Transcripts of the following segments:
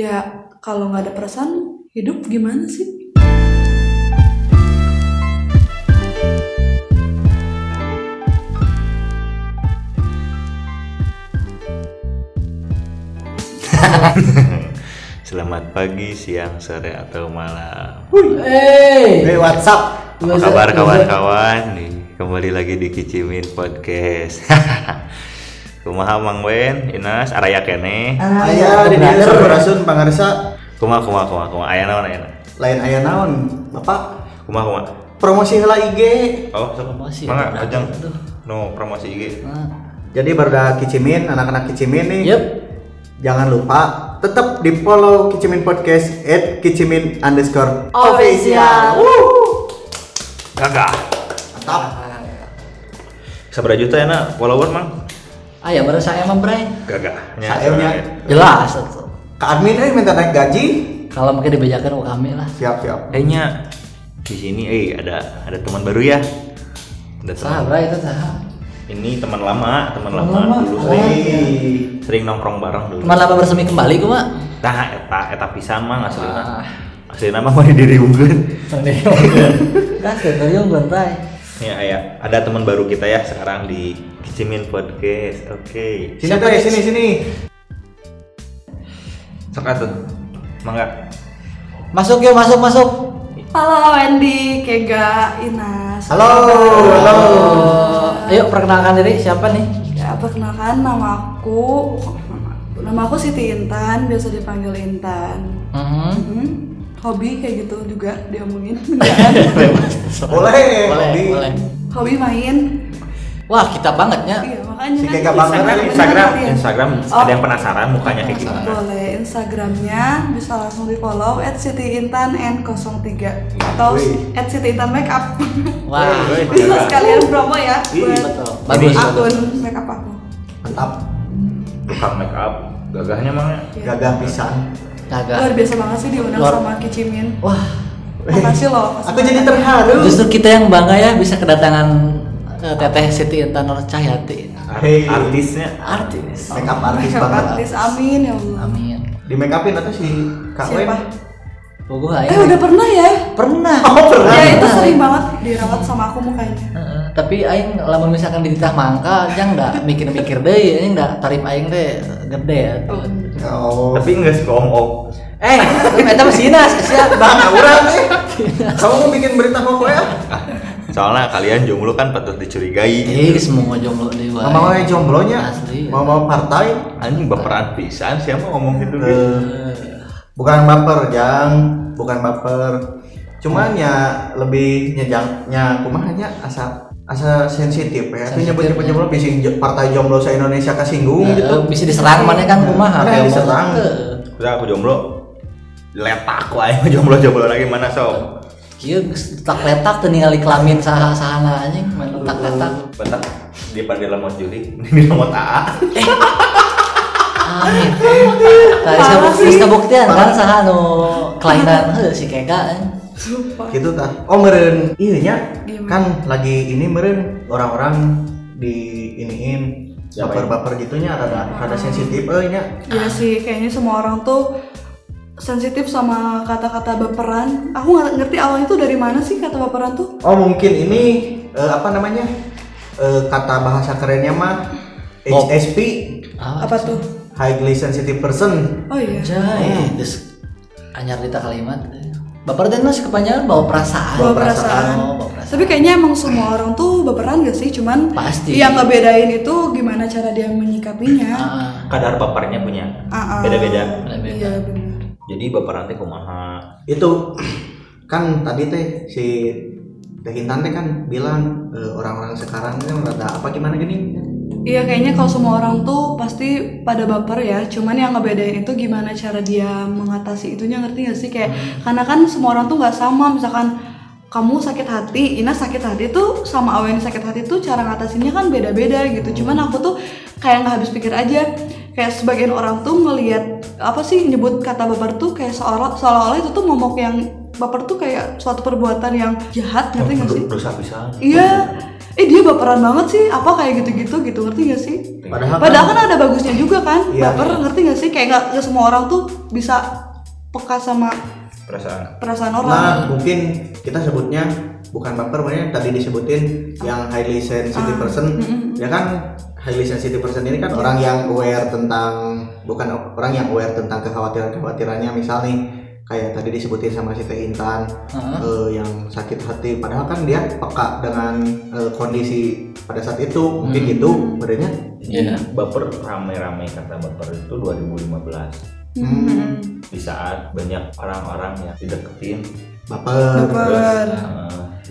Ya, kalau nggak ada perasaan, hidup gimana sih? Selamat pagi, siang, sore, atau malam. Hey, Eh, Hey, what's up? Apa What's up, kabar what's up? kawan-kawan? Nih, kembali lagi di Kicimin Podcast. kumaha Mang Wen, Inas, Araya kene. Ah, Ayah, Aya di dieu brother. sabarasun iya, pangarsa Kumaha kumaha kumaha kumaha aya naon aya naon? lain aya naon. Bapak Kumaha kumaha. promosi heula IG. Oh, sok Promosi, Mangga enak ajang. tuh. No, promosi IG. Jadi baru dah kicimin anak-anak kicimin nih. Yep. Jangan lupa tetap di follow kicimin podcast at kicimin underscore Official. Wuh. Gagah. Mantap. Sabra juta enak follower Mang? Ayah baru saya membrai. Gagah. Saeu nya. Jelas itu. Ke admin eh minta naik gaji. Kalau makanya dibejakan sama kami lah. Siap siap. Eh nya di sini eh ada ada teman baru ya. Ada teman. Sabra itu sah. Ini teman lama, teman lama, Teman lama. dulu Oh, sering iya. sering nongkrong bareng dulu. Teman lama bersemi kembali gua mak. Tah eta eta pisan mah aslina. Ah. Aslina mah mau diri unggul. Kan keteriung gue bray. Ya, ya, ada teman baru kita ya sekarang di Kicimin Podcast. Oke. Sini deh, sini sini. Sok atuh. Mangga. Masuk yuk, masuk, masuk. Halo Wendy, Kega, Inas. Halo. Halo. Oh, ayo perkenalkan diri siapa nih? Ya, perkenalkan nama aku nama aku Siti Intan, biasa dipanggil Intan. Mhm. Hmm, hobi kayak gitu juga diomongin. beneran. iya. Boleh. Boleh, Di- boleh. hobi main. Wah kita banget ya. Iya, makanya Si kan Kega Instagram, banget Bener, Instagram, bener, bener. Instagram. Oh. Ada yang penasaran mukanya kayak gitu. gimana? Boleh Instagramnya bisa langsung di follow at Siti Intan N03 atau Wih. at Siti Intan Makeup. Wah. Woi, Iya. Bisa mangga. sekalian promo ya Ih, buat Betul. Bagus. akun bagus. makeup aku. Mantap. Tukang make up, gagahnya mangga. Ya. Gagah pisan. Luar Kagak. biasa banget sih diundang Luar- sama Kicimin. Wah. Makasih loh. Aku jadi terharu. Justru kita yang bangga ya bisa kedatangan eh, Teteh Siti Intan Nur Cahyati. Ar- Hey. Artisnya Artis. Make up artis Makeup banget. artis, amin ya Allah. Amin. Di make upin atau si Kak Wen? Siapa? Oh, gua Eh ini- udah pernah ya? pernah. Iya. Oh, pernah. Ya itu sering banget dirawat sama aku mukanya. Heeh, tapi aing lamun misalkan dititah mangka jang da mikir-mikir deui aing da tarif aing teh gede ya. Tuh. Oh. tapi enggak suka om om. Eh, eta mah sinas sia. Nah, orang nih. Kamu mau bikin berita kok ya? Soalnya kalian jomblo kan patut dicurigai. Ih, semua jomblo deui wae. Mama yang jomblonya, Asli. ya. Eh, mau mau partai, Anjing baperan pisan siapa ngomong gitu gitu. eh, bukan baper, jang, bukan baper. Cuman ya lebih nyejangnya, kumaha nya asa asa sensitif ya. Itu Sensitif, nyebut ya. nyebut Iya. jomblo bisa partai jomblo se Indonesia kesinggung Heeh, gitu. bisa diserang mana kan kumaha Nah, kayak diserang. mau- Heeh. Udah aku jomblo. Letak wae jomblo jomblo lagi mana sob? Kieu geus letak-letak Iya, teu ningali kelamin saha-sahana anjing, main letak-letak. Bentar di pandai lemot juli, di lemot aa. Amin. Tadi Parah sabuk sih. geus kabuktian kan saha nu kelainan heuh si Kega. anjing. Sumpah. Gitu tah. Oh meren, iya nya Gimana? kan lagi ini meren orang-orang di iniin Siapa ini? baper-baper gitunya rada rada sensitif eh nya. Iya sih, kayaknya semua orang tuh sensitif sama kata-kata baperan. Aku nggak ngerti awalnya tuh dari mana sih kata baperan tuh? Oh mungkin ini eh, apa namanya Eh, kata bahasa kerennya mah Oh. HSP Ah, iya. Apa tuh? highly sensitive person. Oh iya. Anjay, terus anyar dita kalimat. Baper dan mas kepanjangan bawa perasaan. Bawa perasaan. Oh, bawa perasaan. Tapi kayaknya emang semua orang tuh baperan gak sih? Cuman Pasti. yang ngebedain itu gimana cara dia menyikapinya. Iya. Ah, Kadar bapernya punya. Ah, ah. Beda-beda. beda-beda. Iya benar. Jadi baperan teh kumaha? Itu kan tadi teh si Teh Intan teh kan bilang eh, orang-orang sekarang kan rada apa gimana gini. Iya kayaknya kalau semua orang tuh pasti pada baper ya. Cuman yang ngebedain itu gimana cara dia mengatasi itunya ngerti gak sih kayak karena kan semua orang tuh nggak sama misalkan kamu sakit hati, Ina sakit hati tuh sama Awen sakit hati tuh cara ngatasinnya kan beda-beda gitu. Cuman aku tuh kayak nggak habis pikir aja. Kayak sebagian orang tuh ngelihat apa sih nyebut kata baper tuh kayak seolah- seolah-olah itu tuh momok yang baper tuh kayak suatu perbuatan yang jahat ngerti gak sih? Dosa pisan. Iya, eh dia baperan banget sih apa kayak gitu-gitu gitu ngerti gak sih Padahal kan- padahal kan ada bagusnya juga kan Iya. baper ngerti gak sih kayak nggak nggak semua orang tuh bisa peka sama perasaan perasaan orang Nah, mungkin kita sebutnya bukan baper, makanya tadi disebutin yang highly sensitive Ah. person, ya kan highly sensitive person ini kan orang yang aware tentang bukan orang yang aware tentang kekhawatiran kekhawatirannya misal nih kayak tadi disebutin sama si Teh Intan eh, yang sakit hati, padahal kan dia peka dengan eh, kondisi pada saat itu mungkin Hmm. gitu badannya. Iya. baper rame-rame kata baper itu 2015 Hmm. Mhm. di saat banyak orang-orang yang dideketin eh, Baper. Baper.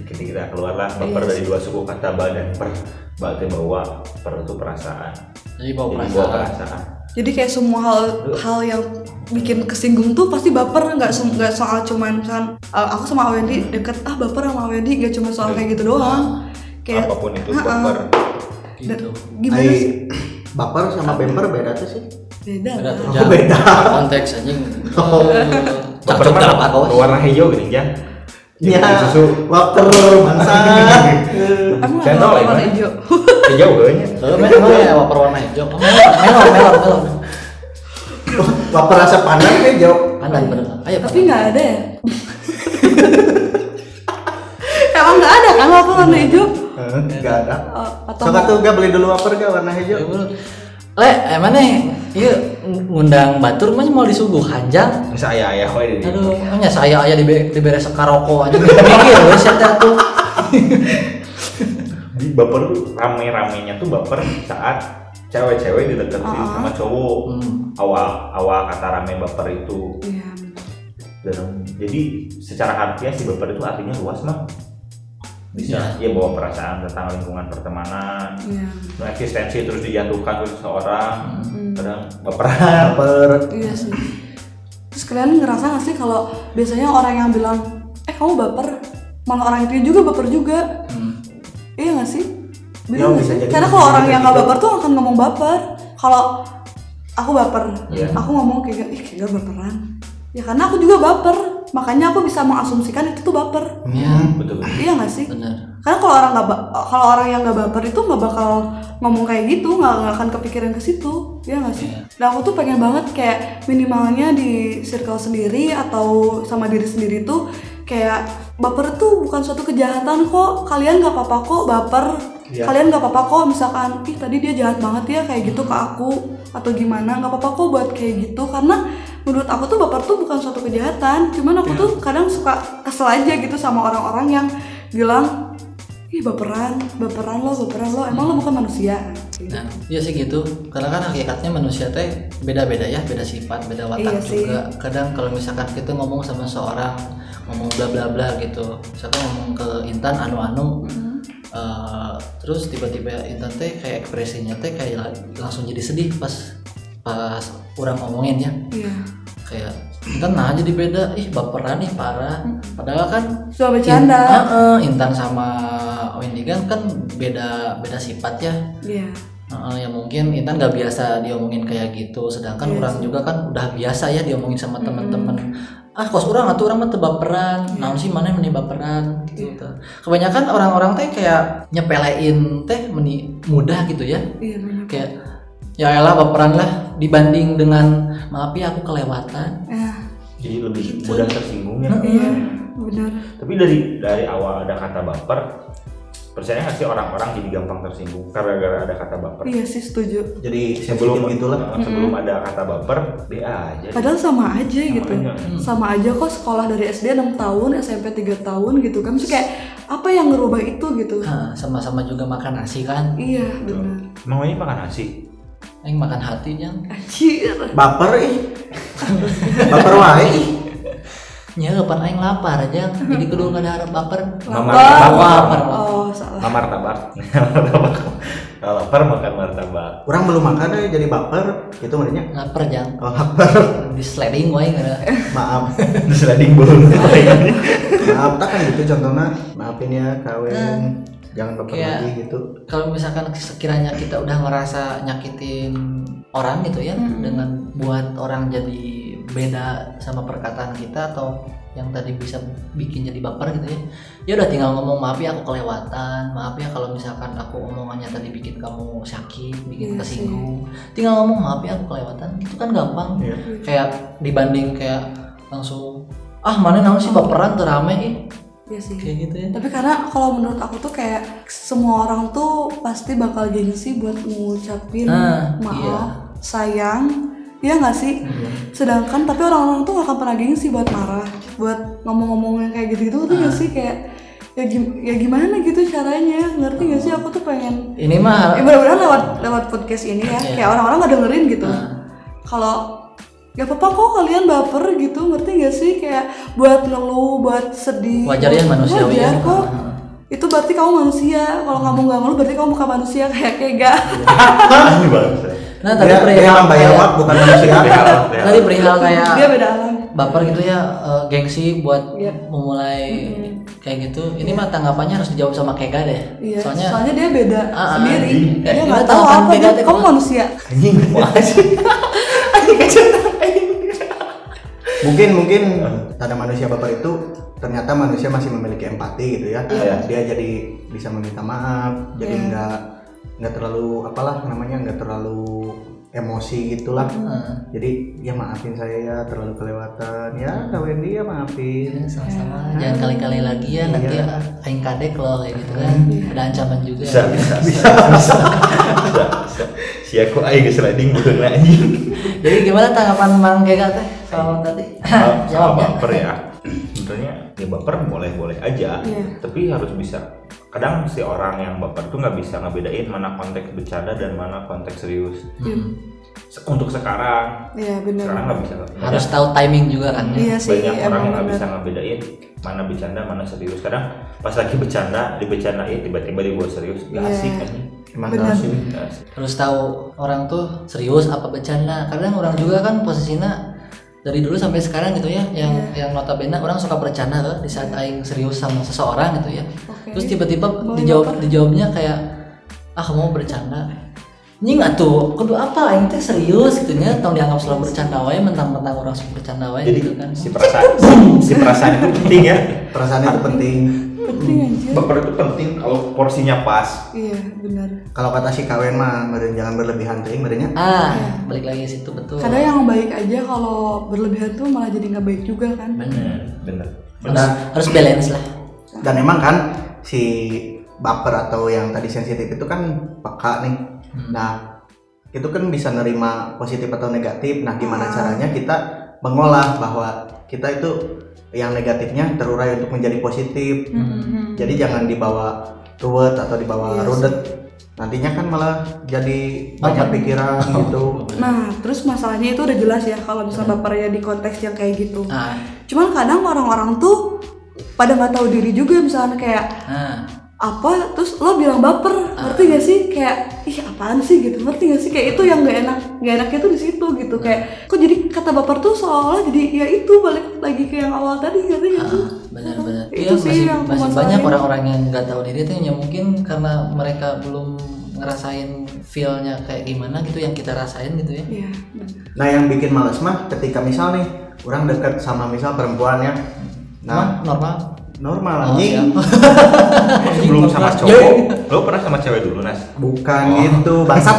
kita kita keluarlah baper Iya dari dua suku kata badan per bagai bawa per itu perasaan Jadi Oh, bawa jadi bawa perasaan. perasaan jadi kayak semua hal hal yang bikin kesinggung tuh pasti baper nggak sem- nggak soal cuman misalkan uh, aku sama Wendy deket ah baper sama Wendy nggak cuma soal kayak gitu doang Nah. kayak apapun itu Ha-ha. baper Gitu. gimana Ai, sih baper sama bemper beda tuh sih. beda Beda tuh. lah. Jangan. beda. Konteks anjing. Oh. baper Cocok dalam mah aku. warna hijau gini ya Ya, baper bangsa. Emang Saya ada tahu ya, lah, warna Iman. hijau hijau kayaknya Kalau memang ya baper warna hijau. Oh, Melon, melon, melon. baper rasa pandang deh jauh. Pandan bener. Ayo. tapi nggak ada ya emang nggak ada kan baper warna hijau Enggak ada. Uh, atau Sok Iya. tuh gak beli dulu baper gak warna hijau. Le, emang nih, iya ngundang batur mah mau disuguh hanjang. bisa ayah ayah kau ini Aduh, hanya saya aja di diberes sekaroko aja mikir weh saya tuh. di baper tuh rame-ramenya tuh baper saat cewek-cewek dideketin Ah. sama cowok Hmm. awal awal kata rame baper itu Iya, dan jadi secara harfiah si baper itu artinya luas mah bisa ya bawa perasaan tentang lingkungan pertemanan iya. no eksistensi terus dijatuhkan oleh seseorang Hmm. kadang baperan Baper. Iya sih. Terus kalian ngerasa gak sih kalau biasanya orang yang bilang, eh kamu baper, malah orang itu juga baper juga. Iya gak sih? Bener Ya, nggak Hmm. bisa sih? jadi. Karena kalau Bisa orang jadi yang gak gitu. baper tuh akan ngomong baper. Kalau aku baper, Iya. aku ngomong kayak, ih kayak gak baperan. Ya karena aku juga baper, makanya aku bisa mengasumsikan itu tuh baper. Ya. Iya, betul Iya gak sih? bener. Karena kalau orang nggak ba- kalau orang yang nggak baper itu nggak bakal ngomong kayak gitu, nggak nggak akan kepikiran ke situ, ya nggak sih? Nah aku tuh pengen banget kayak minimalnya di circle sendiri atau sama diri sendiri tuh kayak baper tuh bukan suatu kejahatan kok. Kalian nggak apa-apa kok baper. Iya. Kalian nggak apa-apa kok misalkan ih tadi dia jahat banget ya kayak gitu ke aku atau gimana nggak apa-apa kok buat kayak gitu karena menurut aku tuh baper tuh bukan suatu kejahatan cuman aku tuh kadang suka kesel aja gitu sama orang-orang yang bilang ih baperan baperan lo baperan lo emang lo bukan manusia Nah, iya sih gitu. Karena kan hakikatnya manusia teh beda-beda ya, beda sifat, beda Iya watak sih. juga. Kadang kalau misalkan kita ngomong sama seorang ngomong bla bla bla gitu, misalkan ngomong ke Intan anu anu, eh, terus tiba-tiba Intan teh kayak ekspresinya teh kayak la- langsung jadi sedih pas pas orang ngomongin ya. iya Kayak Intan nah jadi beda, ih baperan nih parah. Padahal kan suka Hmm. In- bercanda Heeh, Intan sama Wendy kan kan beda beda sifat ya. iya Heeh, ya mungkin Intan nggak biasa diomongin kayak gitu, sedangkan Iya Hmm. orang juga kan udah biasa ya diomongin sama teman-teman. Ah kos orang atau orang mah tebaperan, Iya. naon sih mana yang meni baperan gitu. tuh. Kebanyakan orang-orang teh kayak nyepelein teh meni mudah gitu ya, iya benar kayak ya elah baperan lah dibanding dengan maaf ya aku kelewatan. Eh, jadi lebih mudah ya, tersinggungnya iya benar tapi dari dari awal ada kata baper percaya nggak sih orang-orang jadi gampang tersinggung karena gara ada kata baper iya sih setuju Jadi sebelum sebelum gitulah. sebelum ada kata baper dia aja padahal sama aja Sama gitu aja. sama aja kok sekolah dari SD 6 tahun SMP 3 tahun gitu kan Maksudnya kayak apa yang ngerubah itu gitu Hah, Eh, sama-sama juga makan nasi kan, iya benar emang ini makan nasi yang makan hatinya. anjir Baper ih. baper wae ih. Ya, kapan aing lapar aja, jadi kedua kada harap baper. Mama- Lapar. Lapar. oh salah Nah, martabak. martabak. Kalau lapar makan martabak. Orang belum makan eh, jadi baper gitu makanya. Lapar jang. Oh, baper. Di sliding wae kada. Maaf. Di sliding bone. Maaf tak kan gitu contohnya. Maafin ya kawin. Jangan baper Kayak- lagi gitu. Kalau misalkan sekiranya Hmm. kita udah ngerasa nyakitin orang gitu ya dengan buat orang jadi beda sama perkataan kita atau yang tadi bisa bikin jadi baper gitu ya ya udah tinggal ngomong maaf ya aku kelewatan maaf ya kalau misalkan aku omongannya tadi bikin kamu sakit Iya bikin sih. kesinggung tinggal ngomong maaf ya aku kelewatan itu kan gampang Iya. kayak dibanding kayak langsung ah mana naon sih baperan tuh rame ih Iya sih. kayak gitu ya Tapi karena kalau menurut aku tuh kayak semua orang tuh pasti bakal gengsi buat ngucapin Nah, Ah, maaf, iya. sayang, ya nggak sih? Sedangkan tapi orang-orang tuh gak akan pernah gengsi buat marah, buat ngomong-ngomong yang kayak gitu-gitu tuh Ah. nggak sih kayak ya, gim- ya gimana gitu caranya ngerti nggak sih aku tuh pengen ini mah ya mudah-mudahan lewat lewat podcast ini ya Ah. Iya. Ah. kayak orang-orang nggak dengerin gitu kalau gak apa-apa kok kalian baper gitu ngerti gak sih kayak buat ngeluh buat sedih Wajar ya, manusiawi wajar ya. kok itu berarti kamu manusia kalau kamu gak ngeluh berarti kamu bukan manusia kayak kayak gak Ini bagus. nah tadi Dia, dia perihal emang kayak, biawak bukan ya? manusia. Iya. ya. tadi perihal kayak dia beda alam baper gitu ya eh, gengsi buat Iya. memulai kayak gitu ini mah tanggapannya harus dijawab sama Kega deh iya soalnya, soalnya dia beda Ah, ah, sendiri iya. dia Iya, nggak iya, tahu tahu kan apa beda dia tuh, kamu Bang. manusia Anjing, wah, anjing. Mungkin mungkin tanda manusia baper itu ternyata manusia masih memiliki empati gitu ya. Iya. Dia jadi bisa meminta maaf, jadi Iya. nggak nggak terlalu apalah namanya nggak terlalu emosi gitulah. Iya. eh, Jadi ya maafin saya ya terlalu kelewatan. Iya. Ya Kak Wendy ya maafin. ya, sama-sama jangan kali-kali lagi ya nanti Iya. aing kadek loh kayak gitu kan ada ancaman juga Bisa, bisa, bisa, bisa, bisa, bisa. Si aku aing geus sliding beungeung anjing. jadi gimana tanggapan Mang Kega teh soal tadi Soal- soal jawabnya baper ya sebenarnya ya baper boleh boleh aja Iya. tapi harus bisa kadang si orang yang baper tuh nggak bisa ngebedain mana konteks bercanda dan mana konteks serius Hmm. Se- untuk sekarang iya benar sekarang nggak bisa harus tahu timing juga kan ya. iya banyak, sih banyak orang yang emang nggak benar bisa ngebedain mana bercanda mana serius kadang pas lagi bercanda dibecandain tiba-tiba dibuat serius gak Iya. asik kan Emang Benar. sih. Nggak asik. harus tahu orang tuh serius apa bercanda kadang orang juga kan posisinya dari dulu sampai sekarang gitu ya yang Iya. yang notabene orang suka bercanda tuh di saat aing serius sama seseorang gitu ya Oke. terus tiba-tiba Boleh dijawab dijawabnya kayak ah kamu bercanda nying atuh kudu apa aing teh serius gitu nya tong dianggap selalu bercanda wae mentang-mentang orang suka bercanda wae jadi gitu kan si perasaan si perasaan itu penting ya Perasaan itu penting. penting anjir baper itu penting kalau porsinya pas iya benar Kalau kata si Kak Wen mah meureun jangan berlebihan teuing meureunnya. ah Iya. balik lagi ke situ betul kadang yang baik aja kalau berlebihan tuh malah jadi nggak baik juga kan bener bener harus, harus balance lah dan emang kan si baper atau yang tadi sensitif itu kan peka nih nah itu kan bisa nerima positif atau negatif nah gimana caranya kita mengolah bahwa kita itu yang negatifnya terurai untuk menjadi Hmm, positif Hmm. jadi jangan dibawa ruwet atau Iya dibawa rudet nantinya kan malah jadi banyak pikiran gitu Nah, terus masalahnya itu udah jelas ya kalau misalnya bapernya di konteks yang kayak gitu. ah Cuman kadang orang-orang tuh pada nggak tahu diri juga misalnya kayak ah apa terus lo bilang baper ngerti gak sih kayak ih apaan sih gitu ngerti gak sih kayak itu yang gak enak gak enaknya tuh di situ gitu kayak Ah. kok jadi kata baper tuh seolah jadi ya itu balik lagi ke yang awal tadi ngerti gak sih Ah, benar-benar Itu iya sih masih, yang aku masih masalahin. banyak orang-orang yang nggak tahu diri itu ya mungkin karena mereka belum ngerasain feel-nya kayak gimana gitu yang kita rasain gitu ya iya benar. nah yang bikin males mah ketika misal nih orang dekat sama misal perempuan ya nah Emang normal normal anjing Iya. sebelum sama cowok lo pernah sama cewek dulu nas Bukan gitu, bangsat.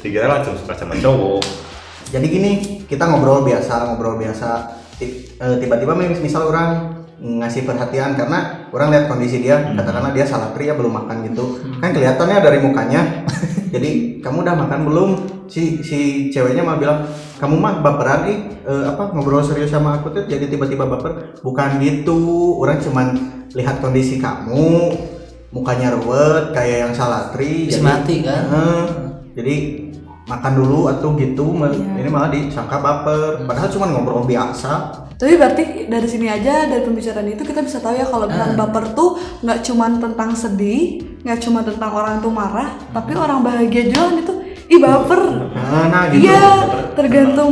dikira langsung suka sama cowok Jadi gini, kita ngobrol biasa, ngobrol biasa. Ti- eh, Tiba-tiba mis- misal orang ngasih perhatian karena orang lihat kondisi dia, katakanlah dia salah pria belum makan gitu. Kan kelihatannya dari mukanya. Jadi kamu udah makan belum? Si si ceweknya mah bilang, "Kamu mah baperan ih, eh, apa ngobrol serius sama aku tuh jadi tiba-tiba baper." Bukan gitu. Orang cuman lihat kondisi kamu, mukanya ruwet kayak yang salah tri. Bisa jadi- mati kan? Heeh. jadi makan dulu atau gitu me- ini malah disangka baper padahal cuma ngobrol biasa tapi berarti dari sini aja dari pembicaraan itu kita bisa tahu ya Ah. kalau bilang baper tuh nggak cuman tentang sedih nggak cuma tentang orang tuh marah tapi orang bahagia juga kan itu ih baper nah, nah, gitu Iya, tergantung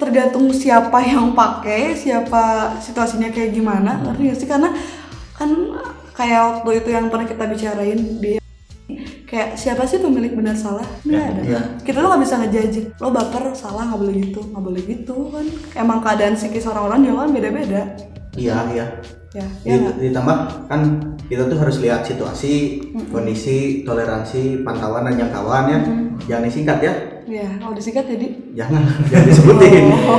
tergantung siapa yang pakai, siapa situasinya kayak gimana. Hmm. Ngerti nggak sih? Karena kan kayak waktu itu yang pernah kita bicarain di kayak siapa sih pemilik benar salah nggak ada Iya. kita tuh nggak bisa ngejajin lo baper salah nggak boleh gitu nggak boleh gitu kan emang keadaan psikis orang-orang juga kan beda-beda iya iya ya ya Di- nggak? ditambah kan kita tuh harus lihat situasi kondisi toleransi pantauan dan jangkauan ya jangan disingkat ya ya kalau disingkat jadi jangan jangan disebutin Oh.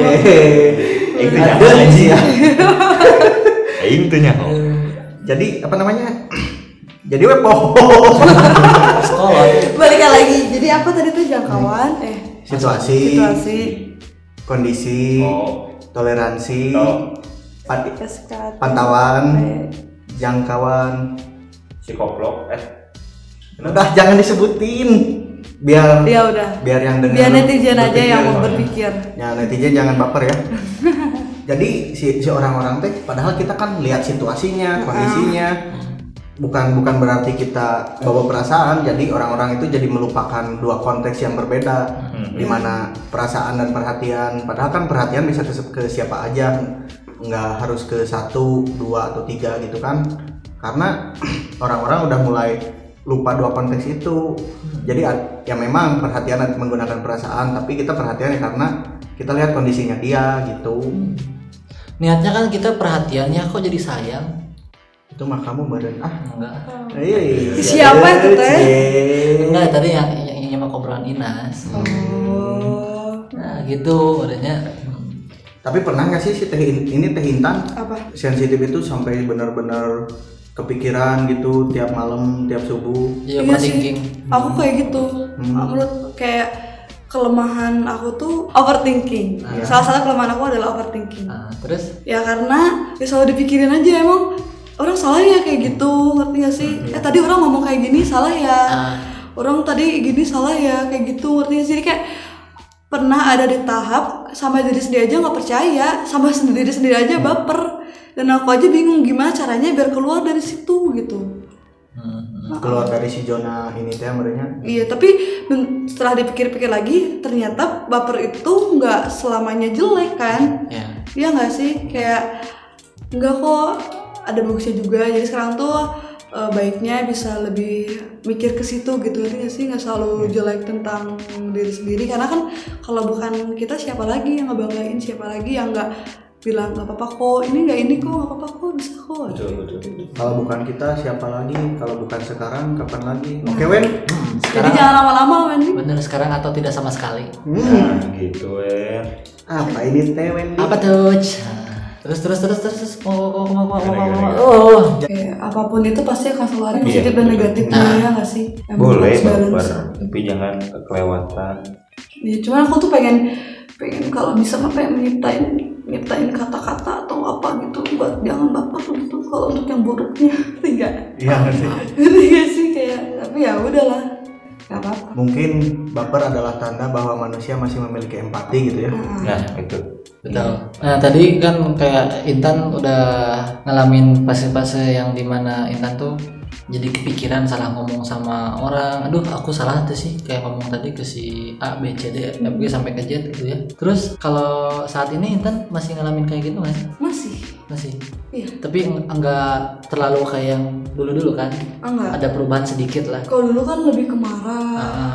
Hehehe. Itu Ada jangan. aja ya. Aing teh nyaho. Iya. jadi apa namanya jadi wepo sekolah balikan lagi jadi apa tadi tuh jangkauan eh Iya. situasi situasi kondisi Oh. toleransi Oh. ya, pat- kesehatan pantauan eh, jangkauan Si koplok eh udah jangan disebutin biar ya udah biar yang dengar biar netizen aja yang mau berpikir. berpikir ya netizen jangan baper ya jadi si, si orang-orang teh padahal kita kan lihat Ah. situasinya kondisinya bukan bukan berarti kita bawa perasaan jadi orang-orang itu jadi melupakan dua konteks yang berbeda Hmm. di mana perasaan dan perhatian padahal kan perhatian bisa ke, ke siapa aja nggak harus ke satu dua atau tiga gitu kan karena orang-orang udah mulai lupa dua konteks itu Hmm. jadi ad- ya memang perhatian dan menggunakan perasaan tapi kita perhatian ya karena kita lihat kondisinya dia gitu niatnya kan kita perhatiannya kok jadi sayang itu mah kamu badan ah enggak iya, iya, iya. Siapa itu, Teh? Cie. enggak tadi yang yang, yang sama obrolan Inas oh nah gitu adanya tapi pernah nggak sih si teh In- ini teh intan apa sensitif itu sampai benar-benar kepikiran gitu tiap malam tiap subuh Iya sih. ya overthinking aku kayak gitu menurut kayak kelemahan aku tuh overthinking salah satu kelemahan aku adalah overthinking nah, terus ya karena ya selalu dipikirin aja emang orang salah ya kayak gitu ngerti gak sih eh tadi orang ngomong kayak gini salah ya Ah. orang tadi gini salah ya kayak gitu ngerti gak sih Jadi kayak pernah ada di tahap sama diri sendiri aja nggak percaya sama sendiri sendiri aja baper dan aku aja bingung gimana caranya biar keluar dari situ gitu hmm, keluar dari si zona ini teh merenya Iya, tapi ben- setelah dipikir-pikir lagi, ternyata baper itu nggak selamanya jelek kan? ya Iya nggak sih? Kayak nggak kok ada bagusnya juga. Jadi sekarang tuh eh, baiknya bisa lebih mikir ke situ gitu ngerti nggak sih nggak selalu jelek tentang diri sendiri karena kan kalau bukan kita siapa lagi yang ngebanggain siapa lagi yang nggak bilang nggak apa-apa kok ini nggak ini kok nggak apa-apa kok bisa kok kalau bukan kita siapa lagi kalau bukan sekarang kapan lagi oke wen jadi jangan lama-lama Wendy Hmm, bener sekarang atau tidak sama sekali Hmm, Nah, gitu ya. eh. apa ini teh wen apa tuh Nah, terus terus terus terus Oh, terus mau mau mau mau mau mau mau oh Kayak apapun itu pasti akan selalu ada positif dan negatifnya ya nggak sih? Emang Boleh harus balance. baper, tapi jangan kelewatan. Ya, cuman aku tuh pengen pengen kalau bisa mah pengen nyiptain nyiptain kata-kata atau apa gitu buat jangan baper gitu kalau untuk yang buruknya enggak iya ngerti enggak sih kayak tapi ya udahlah nggak apa-apa mungkin baper adalah tanda bahwa manusia masih memiliki empati gitu ya Ah. Nah, itu. Betul. Nah tadi kan kayak Intan udah ngalamin fase-fase yang dimana Intan tuh jadi kepikiran salah ngomong sama orang. Aduh aku salah tuh sih kayak ngomong tadi ke si A B C D F G sampai ke Z gitu ya. Terus kalau saat ini Intan masih ngalamin kayak gitu nggak sih? masih Masih. Iya. Tapi eng- enggak terlalu kayak yang dulu-dulu kan. enggak Ada perubahan sedikit lah. Ah, kalau dulu kan lebih ke marah Ah,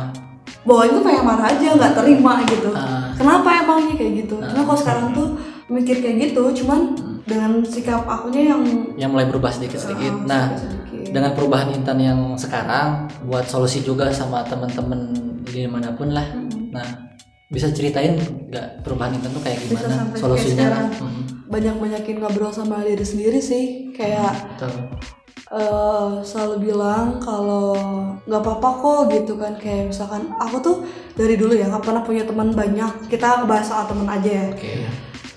bawahnya tuh pengen marah aja nggak terima gitu ah, kenapa emangnya kayak gitu cuma kalau sekarang tuh mikir kayak gitu cuman dengan sikap akunya yang eh, yang Ya, mulai berubah Ah. sedikit-sedikit. Nah dengan perubahan Intan yang sekarang buat solusi juga sama temen-temen dimanapun lah nah bisa ceritain nggak perubahan Intan tuh kayak Bisa gimana sampai solusinya kayak sekarang. Mhm, banyak banyakin ngobrol sama diri sendiri sih kayak betul eh, selalu bilang kalau nggak apa-apa kok gitu kan kayak misalkan aku tuh dari dulu ya nggak pernah punya teman banyak kita ngebahas soal teman aja ya oke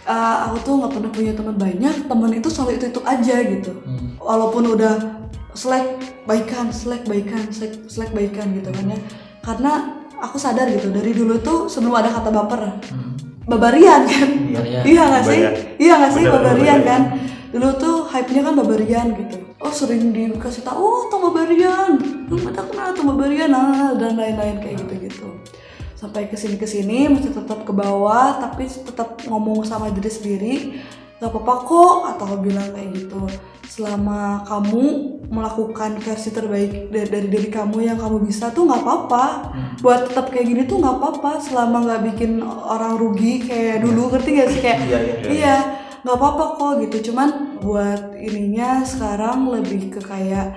Eh, aku tuh nggak pernah punya teman banyak teman itu selalu itu itu aja gitu Hmm. walaupun udah slack baikan slack baikan slack slack baikan gitu kan ya karena aku sadar gitu dari dulu tuh sebelum ada kata baper Hmm. babarian kan Babarian. iya nggak sih Babarian. iya nggak sih Bener, babarian babarian. kan dulu tuh hype nya kan babarian gitu oh sering dikasih tahu oh tuh babarian lu mata kenal tuh babarian ah, dan lain-lain kayak gitu gitu sampai kesini kesini masih tetap ke bawah tapi tetap ngomong sama diri sendiri nggak apa-apa kok atau bilang kayak gitu selama kamu melakukan versi terbaik dari, dari diri kamu yang kamu bisa tuh nggak apa-apa buat tetap kayak gini tuh nggak apa-apa selama nggak bikin orang rugi kayak dulu ngerti gak sih kayak Iya, iya. iya nggak apa-apa kok gitu cuman buat ininya sekarang lebih ke kayak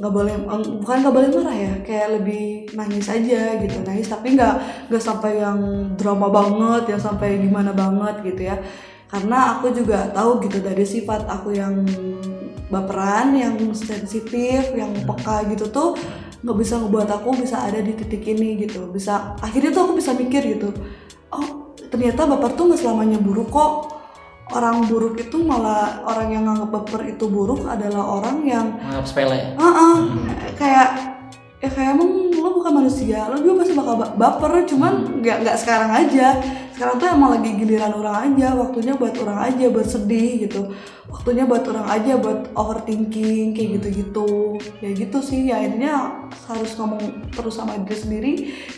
nggak boleh em, bukan nggak boleh marah ya kayak lebih nangis aja gitu nangis tapi nggak nggak sampai yang drama banget yang sampai gimana banget gitu ya karena aku juga tahu gitu dari sifat aku yang baperan yang sensitif yang peka gitu tuh nggak bisa ngebuat aku bisa ada di titik ini gitu bisa akhirnya tuh aku bisa mikir gitu oh ternyata baper tuh nggak selamanya buruk kok orang buruk itu malah orang yang nganggap baper itu buruk adalah orang yang menganggap sepele ya? Heeh. kayak ya kayak emang lo bukan manusia lo juga pasti bakal ba- baper cuman nggak nggak sekarang aja sekarang tuh emang lagi giliran orang aja waktunya buat orang aja buat sedih gitu waktunya buat orang aja buat overthinking kayak gitu gitu ya gitu sih ya akhirnya harus ngomong terus sama diri sendiri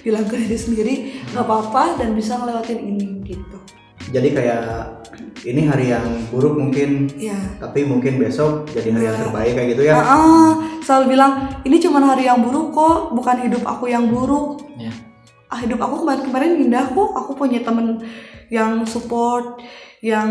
bilang ke diri sendiri nggak apa-apa dan bisa ngelewatin ini gitu Jadi kayak ini hari yang buruk mungkin ya tapi mungkin besok jadi hari yang Iya. terbaik kayak gitu ya. Heeh. selalu bilang ini cuma hari yang buruk kok bukan hidup aku yang buruk Iya. ah, hidup aku kemarin-kemarin indah kok aku punya temen yang support yang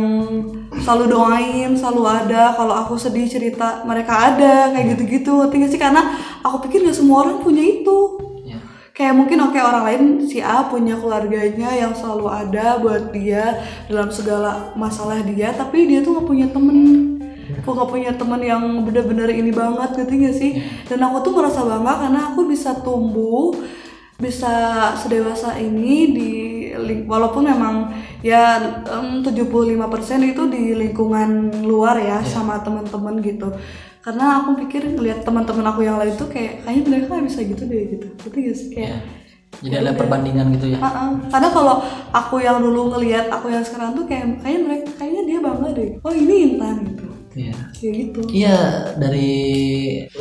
selalu doain selalu ada kalau aku sedih cerita mereka ada kayak gitu-gitu ngerti gak sih karena aku pikir gak semua orang punya itu Iya. kayak mungkin oke orang lain si A punya keluarganya yang selalu ada buat dia dalam segala masalah dia tapi dia tuh nggak punya temen kok nggak punya temen yang bener-bener ini banget gitu gak sih dan aku tuh merasa bangga karena aku bisa tumbuh bisa sedewasa ini di ling- walaupun memang ya em, 75% itu di lingkungan luar ya Iya. sama teman-teman gitu karena aku pikir ngelihat teman-teman aku yang lain tuh kayak kayaknya mereka nggak bisa gitu deh gitu gitu gak sih kayak Iya. Jadi ada perbandingan gitu ya. "Ah, ah." karena kalau aku yang dulu ngelihat aku yang sekarang tuh kayak kayaknya mereka kayaknya dia bangga deh oh ini intan gitu Iya. kayak gitu Iya, dari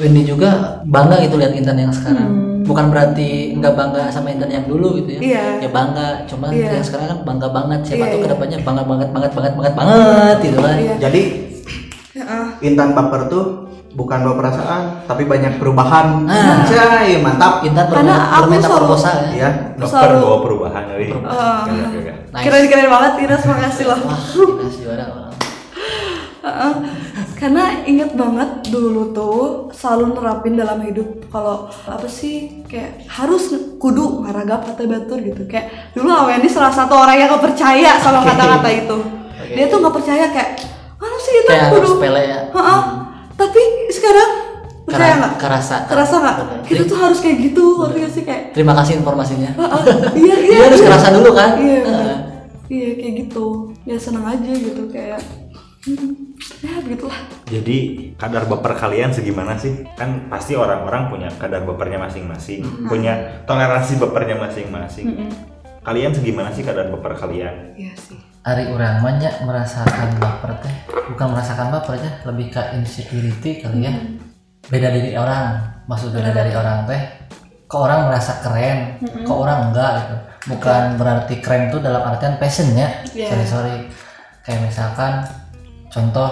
Wendy juga bangga gitu lihat Intan yang sekarang. Bukan berarti nggak bangga sama Intan yang dulu gitu ya. Hmm. Iya. Ya bangga, cuman Iya. yang sekarang kan bangga banget. Siapa Iya, tuh iya. kedepannya bangga banget banget banget banget banget gitu kan. Iya. Jadi Ya, ah. Intan baper tuh bukan bawa perasaan tapi banyak perubahan. Ah. Cai, mantap. Intan Karena bermeta- aku bermetaformosa ya. Ya. Dokter Selalu- bawa perubahan kali. Ah. Gak, gak, gak. Nice. keren-keren banget Ines makasih loh Wah, kita juara orang. Heeh. karena inget banget dulu tuh selalu nerapin dalam hidup kalau apa sih kayak harus kudu ngaragap kata batur gitu kayak dulu Awendi salah satu orang yang gak percaya sama kata-kata itu dia tuh nggak percaya kayak mana sih itu Kayak harus kudu pele ya. Heeh. tapi sekarang percaya Kera- nggak kerasa. kerasa nggak kita tuh harus kayak gitu ngerti gak sih kayak Terima kasih informasinya. "Heeh, iya iya Dia harus iya." kerasa dulu kan. iya bener. Heeh. iya kayak gitu ya seneng aja gitu kayak hmm, ya begitulah Jadi kadar baper kalian segimana sih? Kan pasti orang-orang punya kadar bapernya masing-masing, Ah. punya toleransi bapernya masing-masing. Hmm. Kalian segimana sih kadar baper kalian? iya sih Ari urang mah nya merasakan baper teh bukan merasakan baper teh lebih ke insecurity kali ya beda dari orang maksud beda dari orang teh ke orang merasa keren Hmm. ke orang enggak gitu bukan berarti keren tuh dalam artian passionnya Iya. sorry sorry kayak misalkan contoh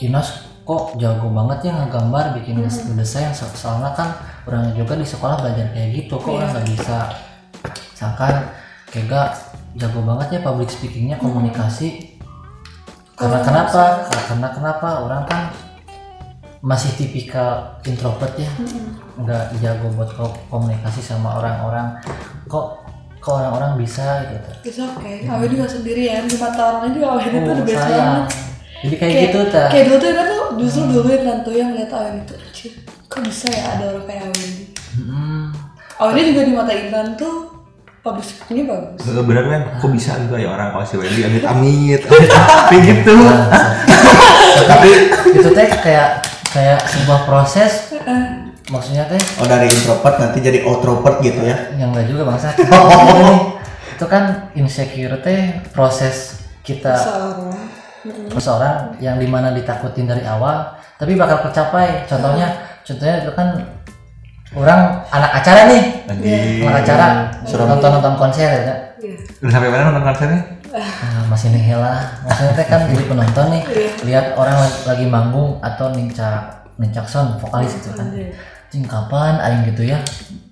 Inos kok jago banget ya ngegambar bikin Mm-hmm. desain so- soalnya kan orang juga di sekolah belajar kayak gitu kok Iya. orang nggak bisa misalkan Kega jago banget ya public speakingnya Mm-hmm. komunikasi karena Oh, kenapa iya. Nah, karena kenapa orang kan masih tipikal introvert ya Mm-hmm. nggak jago buat ko- komunikasi sama orang-orang kok ke orang-orang bisa gitu It's okay, Awe juga ya, sendirian, di mata orang lain juga Awe itu Oh, the best sayang. banget jadi kayak, gitu Hmm. ta Kayak dulu tuh Ina tuh justru dulu Ina tuh yang ngeliat Awe itu Anjir, kok bisa ya ada orang kayak Awe ini Mm. Awe ini juga di mata Intan tuh public speakingnya bagus Bener kan? Kok bisa gitu ya orang kalau si Wendy amit-amit, tapi gitu. tapi itu teh kayak kayak sebuah proses maksudnya teh Oh dari introvert nanti jadi outrovert gitu ya. yang enggak juga bangsa Ini, itu kan insecure teh proses kita Seorang seseorang yang dimana ditakutin dari awal tapi bakal tercapai contohnya contohnya itu kan orang anak acara nih Lagi. anak acara nonton nonton konser ya Iya, Udah sampai mana nonton konsernya? Ah, masih nihil lah maksudnya teh kan jadi penonton nih Iya. lihat orang lagi, lagi manggung atau nincak nincak sound vokalis gitu kan Iya. cing kapan aing gitu ya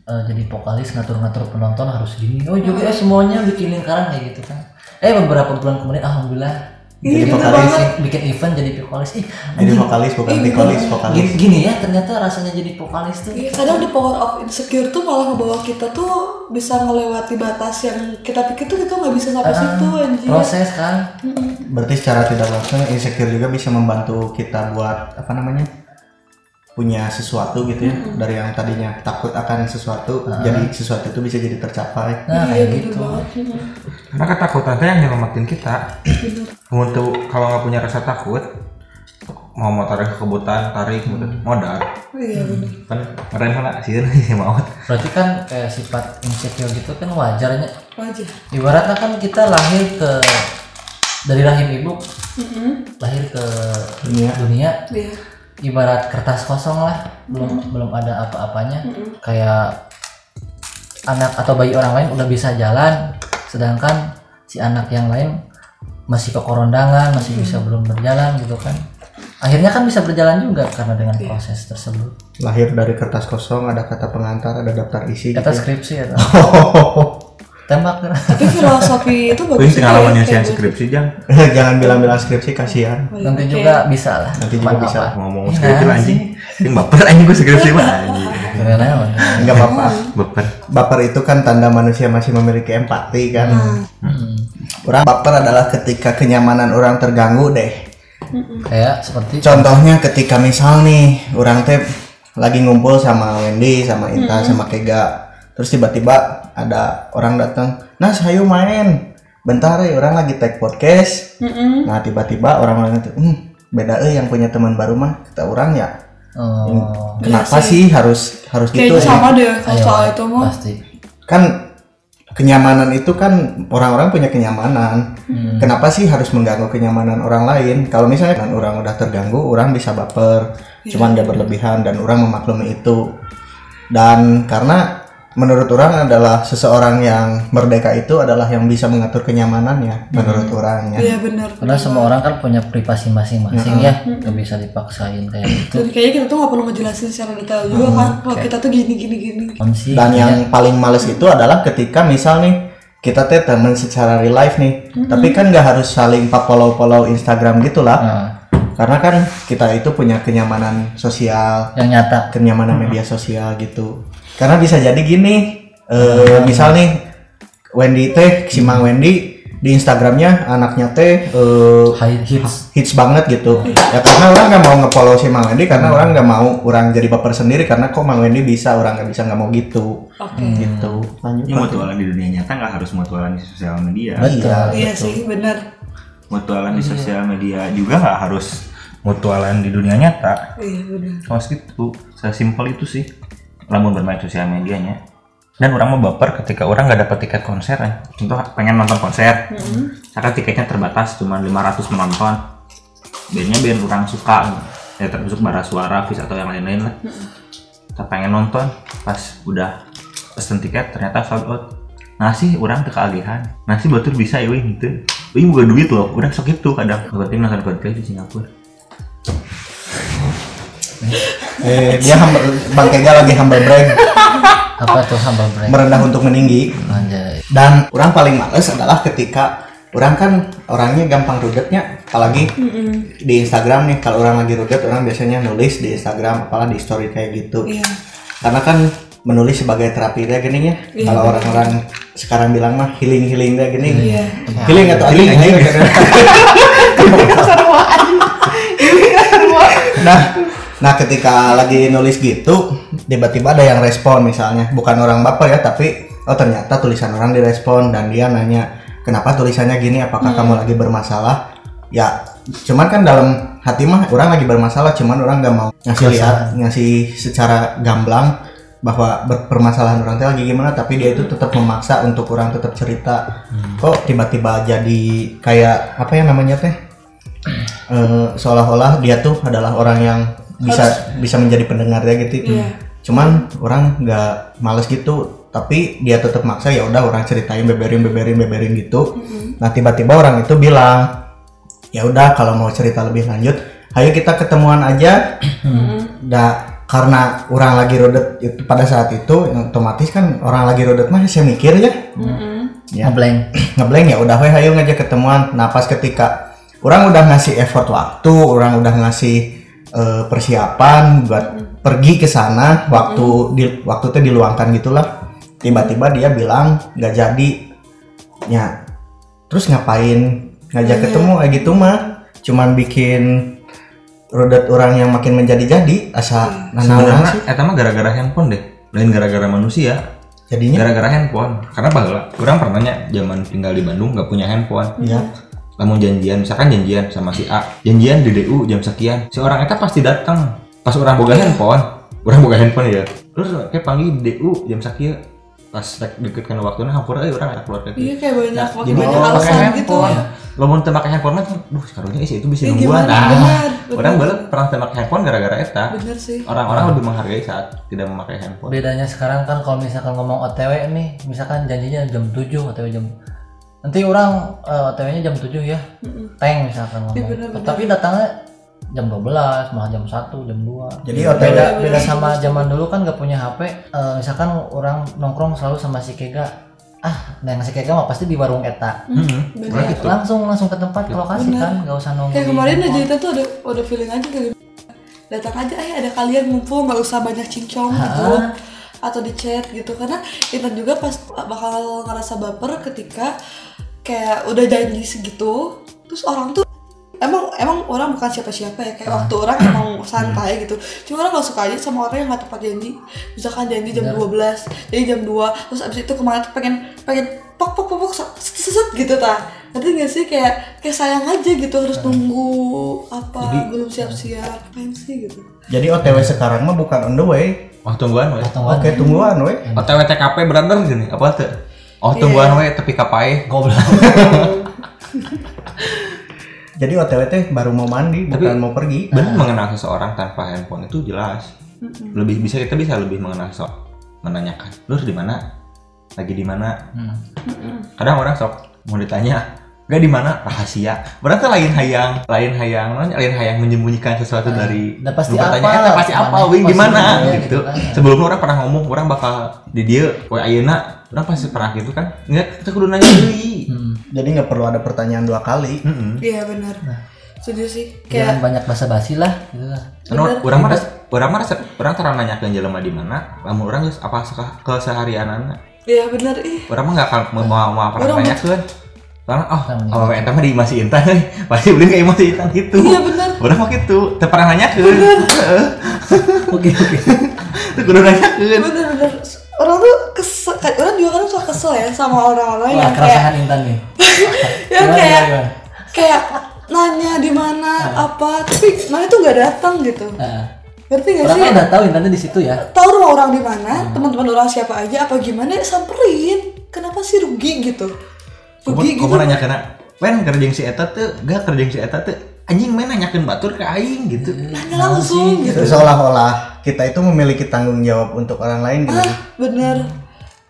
eh, jadi vokalis ngatur-ngatur penonton harus gini oh juga eh, semuanya bikin lingkaran kayak gitu kan eh beberapa bulan kemudian alhamdulillah Iya, jadi gitu vokalis banget. bikin event jadi vokalis ih Jadi anjing, vokalis bukan vokalis vokalis. gini, gini ya ternyata rasanya jadi vokalis tuh Iya, kadang the power of insecure tuh malah ngebawa kita tuh bisa ngelewati batas yang kita pikir tuh kita nggak bisa sampai situ anjir. proses kan Berarti secara tidak langsung insecure juga bisa membantu kita buat apa namanya? punya sesuatu gitu ya dari yang tadinya takut akan sesuatu jadi sesuatu itu bisa jadi tercapai nah iya, kayak bener gitu banget. Karena ketakutan teh yang nyelamatin kita. Bener. Untuk kalau nggak punya rasa takut, mau mau tarik kebutan, tarik gitu. modal. Iya, bener. Kan ngerem lah sih sih mau. berarti kan kayak sifat insecure gitu kan wajarnya Wajar. ibaratnya kan kita lahir ke dari rahim ibu Mm-mm. lahir ke dunia, Iya. ibarat kertas kosong lah belum Hmm. belum ada apa-apanya kayak anak atau bayi orang lain udah bisa jalan sedangkan si anak yang lain masih kekorondangan masih Hmm. bisa belum berjalan gitu kan akhirnya kan bisa berjalan juga karena dengan Iya. proses tersebut lahir dari kertas kosong ada kata pengantar ada daftar isi kata gitu skripsi atau tembak Tapi filosofi itu Oh, bagus. juga Tapi ya, pengalaman yang kayak siang skripsi jang jangan bilang-bilang skripsi kasihan gitu. nanti Oke. juga bisa lah Nanti juga Cuman bisa. Oh, apa? ngomong Iya, skripsi lah, anjing. Anjing baper anjing gue skripsi mah anjing. Keren amat. nggak apa-apa Baper. baper itu kan tanda manusia masih memiliki empati kan Hmm. orang baper adalah ketika kenyamanan orang terganggu deh kayak seperti eh, contohnya ketika misal nih orang teh lagi ngumpul sama Wendy sama Inta sama Kega terus tiba-tiba ada orang datang nah ayo main bentar ya orang lagi take podcast Mm-mm. nah tiba-tiba orang-orang itu hmm, beda eh yang punya teman baru mah kita orang ya oh, kenapa sih. harus harus gitu Kayaknya ya? sama deh kalau ayo, soal itu mah. pasti kan kenyamanan itu kan orang-orang punya kenyamanan. Hmm. Hmm. Kenapa sih harus mengganggu kenyamanan orang lain? Kalau misalnya kan orang udah terganggu, orang bisa baper, Iya. cuman gak berlebihan dan orang memaklumi itu. Dan karena menurut orang adalah seseorang yang merdeka itu adalah yang bisa mengatur kenyamanannya menurut ya. orangnya. Iya bener. karena semua orang kan punya privasi masing-masing Hmm. ya Hmm. nggak bisa dipaksain kayak gitu Dan kayaknya kita tuh nggak perlu ngejelasin secara detail juga Hmm, kan kalau kita tuh gini gini gini. Om sih Dan yang paling males itu adalah ketika misal nih kita teh temen secara real life nih, tapi kan nggak harus saling follow-follow Instagram gitulah. nah, karena kan kita itu punya kenyamanan sosial yang nyata kenyamanan media sosial gitu karena bisa jadi gini eh, misal nih Wendy teh si Mang Wendy di Instagramnya anaknya teh eh, high hits hits banget gitu ya karena orang nggak mau ngefollow si Mang Wendy karena orang nggak mau orang jadi baper sendiri karena kok Mang Wendy bisa orang nggak bisa nggak mau gitu Oke. Hmm, gitu lanjut Ini Pak. mutualan di dunia nyata nggak harus mutualan di sosial media. iya Iya sih bener. Mutualan di sosial media juga nggak harus mutualan di dunia nyata. Iya bener. Cuma segitu, sesimpel itu sih. Lamun bermain sosial medianya. Dan orang mau baper ketika orang nggak dapat tiket konser ya. Contoh pengen nonton konser. Hmm. Karena tiketnya terbatas cuma 500 penonton. Bandnya band orang suka. Ya termasuk bara suara, Fis atau yang lain-lain lah. Kita pengen nonton pas udah pesen tiket ternyata sold out. Nah sih orang kekagihan. Nah sih batur bisa ya weh, gitu. Ini bukan duit loh, udah sok itu kadang. Berarti nonton Coldplay di Singapura. eh, dia humble- Bang Kega lagi humble brag apa tuh humble brag merendah untuk meninggi anjay dan orang paling males adalah ketika orang kan orangnya gampang rudetnya apalagi di Instagram nih kalau orang lagi rudet orang biasanya nulis di Instagram apalagi di story kayak gitu Iya. karena kan menulis sebagai terapi dia gini ya kalau orang-orang sekarang bilang mah healing healing dia gini Iya. Iya. healing atau healing, healing, nah nah ketika lagi nulis gitu tiba-tiba ada yang respon misalnya bukan orang baper ya tapi oh ternyata tulisan orang direspon dan dia nanya kenapa tulisannya gini apakah kamu lagi bermasalah ya cuman kan dalam hati mah orang lagi bermasalah cuman orang nggak mau ngasih lihat ngasih secara gamblang bahwa ber- permasalahan orang teh lagi gimana tapi dia itu tetap memaksa untuk orang tetap cerita kok tiba-tiba jadi kayak apa ya namanya teh Eh, seolah-olah dia tuh adalah orang yang iya. bisa bisa menjadi pendengarnya gitu cuman orang nggak males gitu tapi dia tetap maksa ya udah orang ceritain beberin beberin beberin gitu Hmm. nah tiba-tiba orang itu bilang ya udah kalau mau cerita lebih lanjut ayo kita ketemuan aja Nah, karena orang lagi rodet itu pada saat itu otomatis kan orang lagi rodet mah saya mikir ya Ya. ngeblank ngeblank ya udah weh ayo ngajak ketemuan nah pas ketika orang udah ngasih effort waktu orang udah ngasih eh, persiapan buat pergi ke sana waktu di waktu itu diluangkan gitulah tiba-tiba dia bilang nggak jadi ya terus ngapain ngajak ketemu kayak gitu mah cuman bikin rodat orang yang makin menjadi-jadi asal Hmm. nanawan sebenarnya sih eta mah gara-gara handphone deh lain gara-gara manusia jadinya gara-gara handphone karena bahwa kurang pernah nya zaman tinggal di Bandung nggak punya handphone ya namun janjian misalkan janjian sama si A janjian di DU jam sekian seorang eta pasti datang pas orang boga handphone orang boga handphone ya terus kayak panggil di DU jam sekian pas rek deket kana waktunya hampura euy urang eta keluar ke Iya kayak banyak makin Nah, jadi banyak Oh, orang pakai alasan gitu. kan, handphone iya. lo mau tembak handphone mah duh sekarangnya isi itu bisa Ya nungguan gimana? nah bener, bener. orang balik pernah tembak handphone gara-gara eta Bener sih. orang-orang lebih menghargai saat tidak memakai handphone bedanya sekarang kan kalau misalkan ngomong OTW nih misalkan janjinya jam 7 OTW jam nanti orang OTW-nya jam 7 ya tank misalkan ngomong Iya, benar-benar. tapi datangnya jam 12 malah jam 1 jam 2 jadi beda otw Iya, beda sama zaman dulu kan gak punya HP eh, misalkan orang nongkrong selalu sama si Kega ah nah yang si Kega mah pasti di warung Eta Hmm. Bener. gitu. Ya, langsung langsung ke tempat Iya. ke lokasi Benar. kan gak usah nunggu Kayak di kemarin aja mall. itu tuh ada ada feeling aja kayak gitu. datang aja eh ada kalian ngumpul nggak usah banyak cincong gitu atau di chat gitu karena kita juga pas bakal ngerasa baper ketika kayak udah janji segitu terus orang tuh emang emang orang bukan siapa-siapa ya kayak waktu orang emang santai gitu cuma orang gak suka aja sama orang yang gak tepat janji misalkan janji jam 12 jadi jam 2 terus abis itu kemarin tuh pengen pengen pok pok pok pok set, set, set, gitu ta nanti gak sih kayak kayak sayang aja gitu harus nunggu apa belum siap-siap pengen sih gitu jadi otw sekarang mah bukan on the way oh tungguan weh Tungguan. oke tungguan weh OTW TKP berantem gini apa tuh Iya. oh tungguan weh tapi kapai goblok Jadi OTW teh baru mau mandi, Tapi- bukan mau pergi. benar mengenal seseorang tanpa handphone itu jelas lebih bisa kita bisa lebih mengenal sok menanyakan lu harus di mana lagi di mana Hmm. kadang orang sok mau ditanya gak di mana rahasia berarti lain hayang lain hayang nanya lain hayang menyembunyikan sesuatu Nah, dari udah pasti lu bertanya, apal, "Eh, pasti mana apa yang wing di mana posisinya, gitu gitu kan. sebelumnya orang pernah ngomong orang bakal di dia kowe ayeuna orang pasti pernah gitu kan nggak kita kudu nanya dulu Hmm. Jadi nggak perlu ada pertanyaan dua kali. Mm-mm. iya benar setuju sih jangan kayak banyak basa-basi lah gitu lah Anu, orang mah res- orang mah resep, orang terang nanyakeun jelema di mana, lamun orang geus apa seka- keseharianana. iya benar ih Urang mah enggak akan mau mau apa Orang mah- nanyakeun. Karena oh, Orang mah- apa eta mah di masih intan euy. Pasti beli kayak masih intan gitu. iya benar Orang mah gitu, teu pernah nanyakeun. Heeh. oke oke Teu kudu nanyakeun. bener-bener orang tuh kesel kayak- orang juga kan suka kesel ya sama orang-orang Wah, yang kayak kerasahan Intan nih. yang Gimana, kayak gimana, gimana? kayak nanya di mana apa tapi mana tuh nggak datang gitu Nah, berarti nggak orang Hmm. sih kan udah tahu Intannya di situ ya. tahu rumah orang di mana teman-teman orang siapa aja apa gimana ya samperin kenapa sih rugi gitu rugi Kamu gitu nanya kena, "Wen kerja si eta teu, gak kerja si eta teu." Anjing main nanyakeun batur ke aing gitu. nanya langsung gitu Itu seolah-olah kita itu memiliki tanggung jawab untuk orang lain gitu. ah bener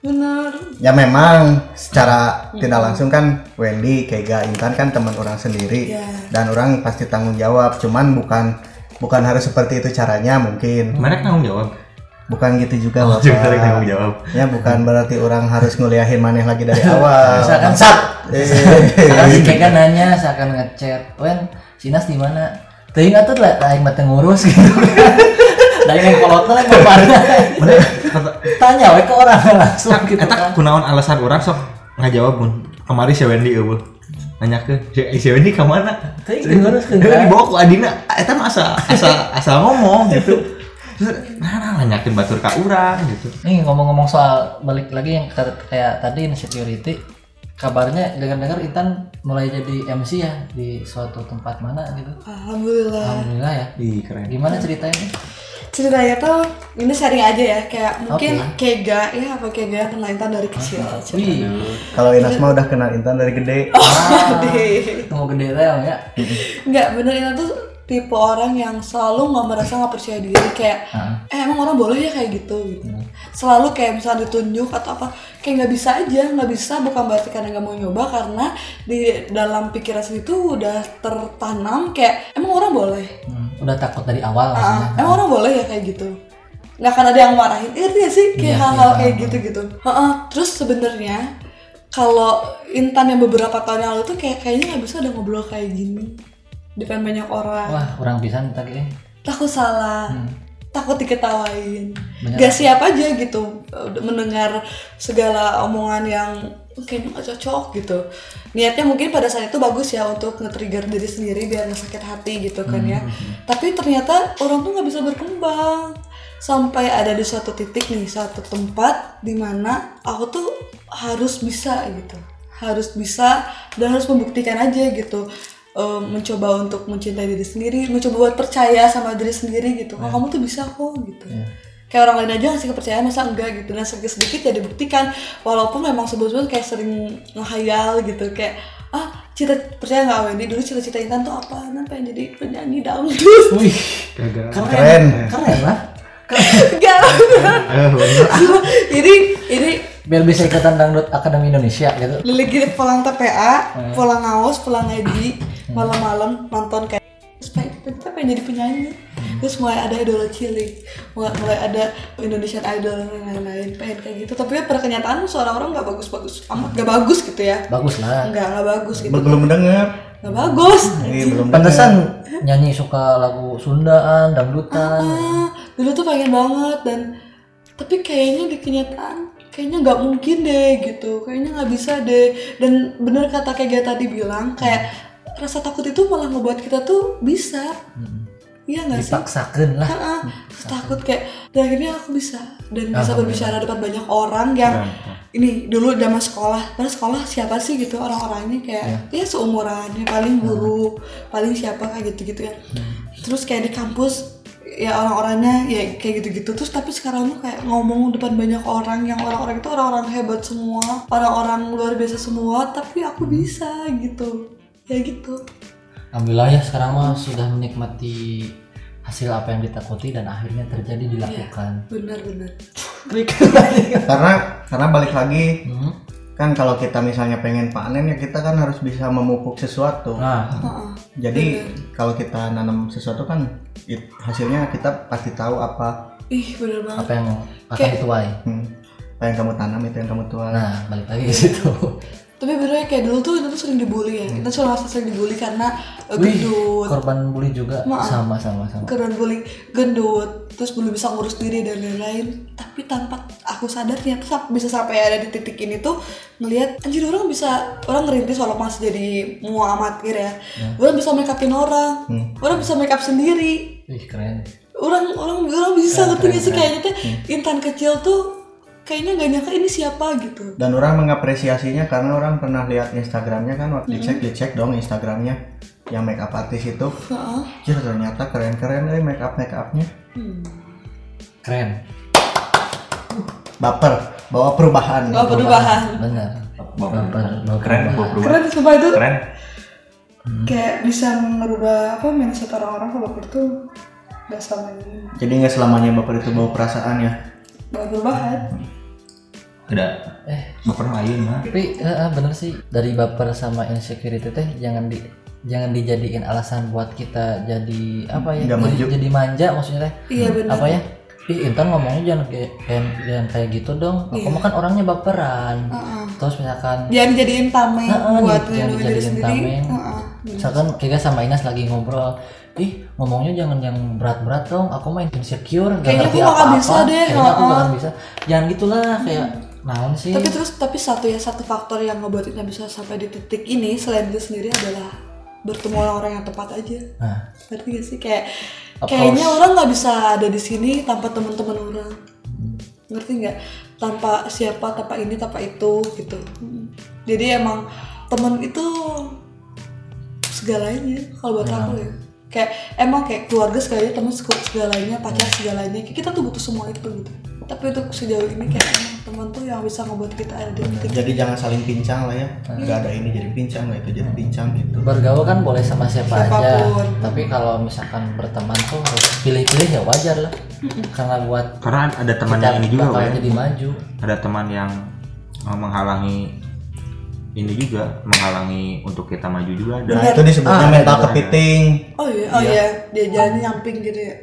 bener Ya memang secara tidak langsung kan Wendy, Kega, Intan kan teman orang sendiri Iya. dan orang pasti tanggung jawab. Cuman bukan bukan harus seperti itu caranya mungkin. Mereka tanggung jawab. Bukan gitu juga Bapak. Cuma mereka tanggung jawab. Ya bukan berarti orang harus nguliahin maneh lagi dari awal. Misalkan- Bangsat. Eh. Iya, Sekarang si Kega nanya, seakan ngechat, Wen, Sinas di mana? Teuing atuh lah, aing mah teu ngurus gitu. Dari yang kolotna lain bapana. Tanya we ke orang langsung Tak, gitu eta kan. kunaon alasan orang sok nggak jawab pun. Kemarin si Wendy eueuh. Nanya ke si, si Wendy ke mana? Teuing teu ngurus kan. Eh, dibawa ke Adina. Eta mah asal asal asal ngomong gitu. Terus, Nah, nah, nanyakin batur ka urang gitu. Nih ngomong-ngomong soal balik lagi yang kata- kayak tadi insecurity kabarnya dengar-dengar Intan mulai jadi MC ya di suatu tempat mana gitu. alhamdulillah Alhamdulillah ya. Ih, keren. Gimana ceritanya? ceritanya tuh ini sharing aja ya kayak mungkin kega ya apa kega kenal Intan dari kecil aja. Wih, Kalau Inas mah udah kenal Intan dari gede. Oh. Deh. mau gede rel ya. Nggak bener Intan tuh tipe orang yang selalu nggak merasa nggak percaya diri kayak eh emang orang boleh ya kayak gitu gitu selalu kayak misalnya ditunjuk atau apa kayak nggak bisa aja nggak bisa bukan berarti karena nggak mau nyoba karena di dalam pikiran sendiri tuh udah tertanam kayak emang orang boleh Hmm, udah takut dari awal Ah, rasanya. emang orang boleh ya kayak gitu nggak akan ada yang marahin ngerti gak sih kayak Iya, hal-hal iya, kayak paham. gitu gitu Heeh. terus sebenarnya kalau Intan yang beberapa tahun yang lalu tuh kayak kayaknya nggak bisa udah ngobrol kayak gini depan banyak orang Wah, kurang pisan kita kayaknya. takut salah Hmm, takut diketawain bener. gak siap aja gitu eh, mendengar segala omongan yang "Oh, kayaknya gak cocok gitu niatnya mungkin pada saat itu bagus ya untuk nge-trigger diri sendiri biar nggak sakit hati gitu kan ya tapi ternyata orang tuh nggak bisa berkembang sampai ada di suatu titik nih suatu tempat dimana aku tuh harus bisa gitu harus bisa dan harus membuktikan aja gitu Eh, mencoba untuk mencintai diri sendiri mencoba buat percaya sama diri sendiri gitu kalau kamu tuh bisa kok gitu kayak orang lain aja ngasih kepercayaan masa enggak gitu dan sedikit sedikit ya dibuktikan walaupun memang sebelumnya kayak sering ngehayal gitu kayak ah cita percaya nggak Wendy dulu cita-cita Intan tuh apa Intan pengen jadi penyanyi dangdut Wih, Keren. keren ah. lah. enggak jadi ini Biar bisa ikutan dangdut Akademi Indonesia gitu. Lili gini pulang TPA pulang ngawas pulang ngaji malam-malam nonton kayak terus pengen, kita pengen jadi penyanyi terus mulai ada idola cilik mulai, mulai ada Indonesian Idol dan lain-lain pengen kayak gitu tapi ya pada kenyataan suara orang nggak bagus-bagus amat nggak bagus gitu ya Bagus lah. nggak nggak bagus gitu Belum denger. nggak bagus Hmm. Ini belum Pantesan nyanyi suka lagu Sundaan, dangdutan. ah, dulu tuh pengen banget dan tapi kayaknya di kenyataan kayaknya nggak mungkin deh gitu kayaknya nggak bisa deh dan bener kata kayak tadi bilang kayak rasa takut itu malah ngebuat kita tuh bisa iya nggak sih Dipaksakan Hmm, lah. Ah, ah. Terus takut kayak dan akhirnya aku bisa dan bisa berbicara depan banyak orang yang ini dulu zaman sekolah terus sekolah siapa sih gitu orang-orangnya kayak ya seumuran ya paling guru paling siapa kayak gitu-gitu ya terus kayak di kampus ya orang-orangnya ya kayak gitu-gitu terus tapi sekarang tuh kayak ngomong depan banyak orang yang orang-orang itu orang-orang hebat semua orang-orang luar biasa semua tapi aku bisa gitu ya gitu Alhamdulillah ya sekarang mah sudah menikmati hasil apa yang ditakuti dan akhirnya terjadi Iya. dilakukan. benar-benar karena karena balik lagi Hmm. kan kalau kita misalnya pengen panen ya kita kan harus bisa memupuk sesuatu. Nah, Jadi kalau kita nanam sesuatu kan it- hasilnya kita pasti tahu apa ih benar banget apa yang akan Kayak- dituai. hmm, apa yang kamu tanam itu yang kamu tuai. Nah, balik lagi ke situ. Tapi bener ya, kayak dulu tuh Intan tuh sering dibully ya. Intan tuh selalu sering dibully karena uh, gendut, Korban bully juga Maaf. sama sama sama. karena bully gendut, terus belum bisa ngurus diri dan lain-lain. Tapi tanpa aku sadar ternyata sam- bisa sampai ada di titik ini tuh ngelihat anjir orang bisa orang ngerintis walaupun masih jadi mua amatir ya. Orang bisa make upin orang, Hmm. orang bisa make up sendiri, Wih, keren. orang orang orang bisa ngerti nggak sih kayaknya tuh Intan kecil tuh kayaknya gak nyangka ini siapa gitu. Dan orang mengapresiasinya karena orang pernah lihat Instagramnya kan waktu dicek dicek dong Instagramnya yang make up artis itu. Heeh. Jir ternyata keren-keren eh make up make upnya. Hmm. Keren. Baper bawa perubahan. Gak Oh, perubahan. Nah, Benar. Keren, bawa perubahan. Keren sumpah itu Keren. kayak bisa merubah apa mindset orang-orang kalau baper tuh gak sama ini Jadi nggak selamanya baper itu bawa perasaan ya. gak berubah Ada Eh, baper lain mah. tapi eh, eh, bener sih dari baper sama insecurity teh jangan di jangan dijadiin alasan buat kita jadi apa ya? Nggak jadi- maju. Jadi manja maksudnya teh. iya benar apa ya Ih, Intan ngomongnya jangan kayak jangan, jangan kayak gitu dong aku Iya. mah kan orangnya baperan Oh. terus misalkan jangan dijadiin tameng Heeh, buat jangan melindungi diri dijadiin sendiri tameng. Heeh. misalkan Kega sama Inas lagi ngobrol ih ngomongnya jangan yang berat-berat dong aku mah insecure gak Kayaknya ngerti aku nggak apa-apa bisa deh, kayaknya aku heeh. gak bisa jangan gitulah kayak naon sih tapi terus tapi satu ya satu faktor yang ngebuat kita bisa sampai di titik ini selain diri sendiri adalah bertemu orang-orang yang tepat aja nah ngerti gak sih kayak Of kayaknya course. orang nggak bisa ada di sini tanpa teman-teman orang Hmm. ngerti nggak tanpa siapa tanpa ini tanpa itu gitu jadi emang teman itu segalanya kalau buat aku ya kayak emang kayak keluarga segalanya teman sek- segalanya pacar segalanya kayak kita tuh butuh semua itu gitu tapi untuk sejauh ini kayak emang teman tuh yang bisa ngebuat kita ada di titik jadi jangan saling pincang lah ya Hmm. nggak ada ini jadi pincang nggak itu jadi pincang gitu bergaul kan boleh sama siapa aja Siapapun. tapi kalau misalkan berteman tuh harus pilih-pilih ya wajar lah karena buat Karena ada teman kita yang ini juga, bakal Wen. jadi maju Ada teman yang eh, menghalangi ini juga, menghalangi untuk kita maju juga ada. nah itu disebutnya Ah, mental ada. kepiting oh iya oh iya dia jalan nyamping gitu ya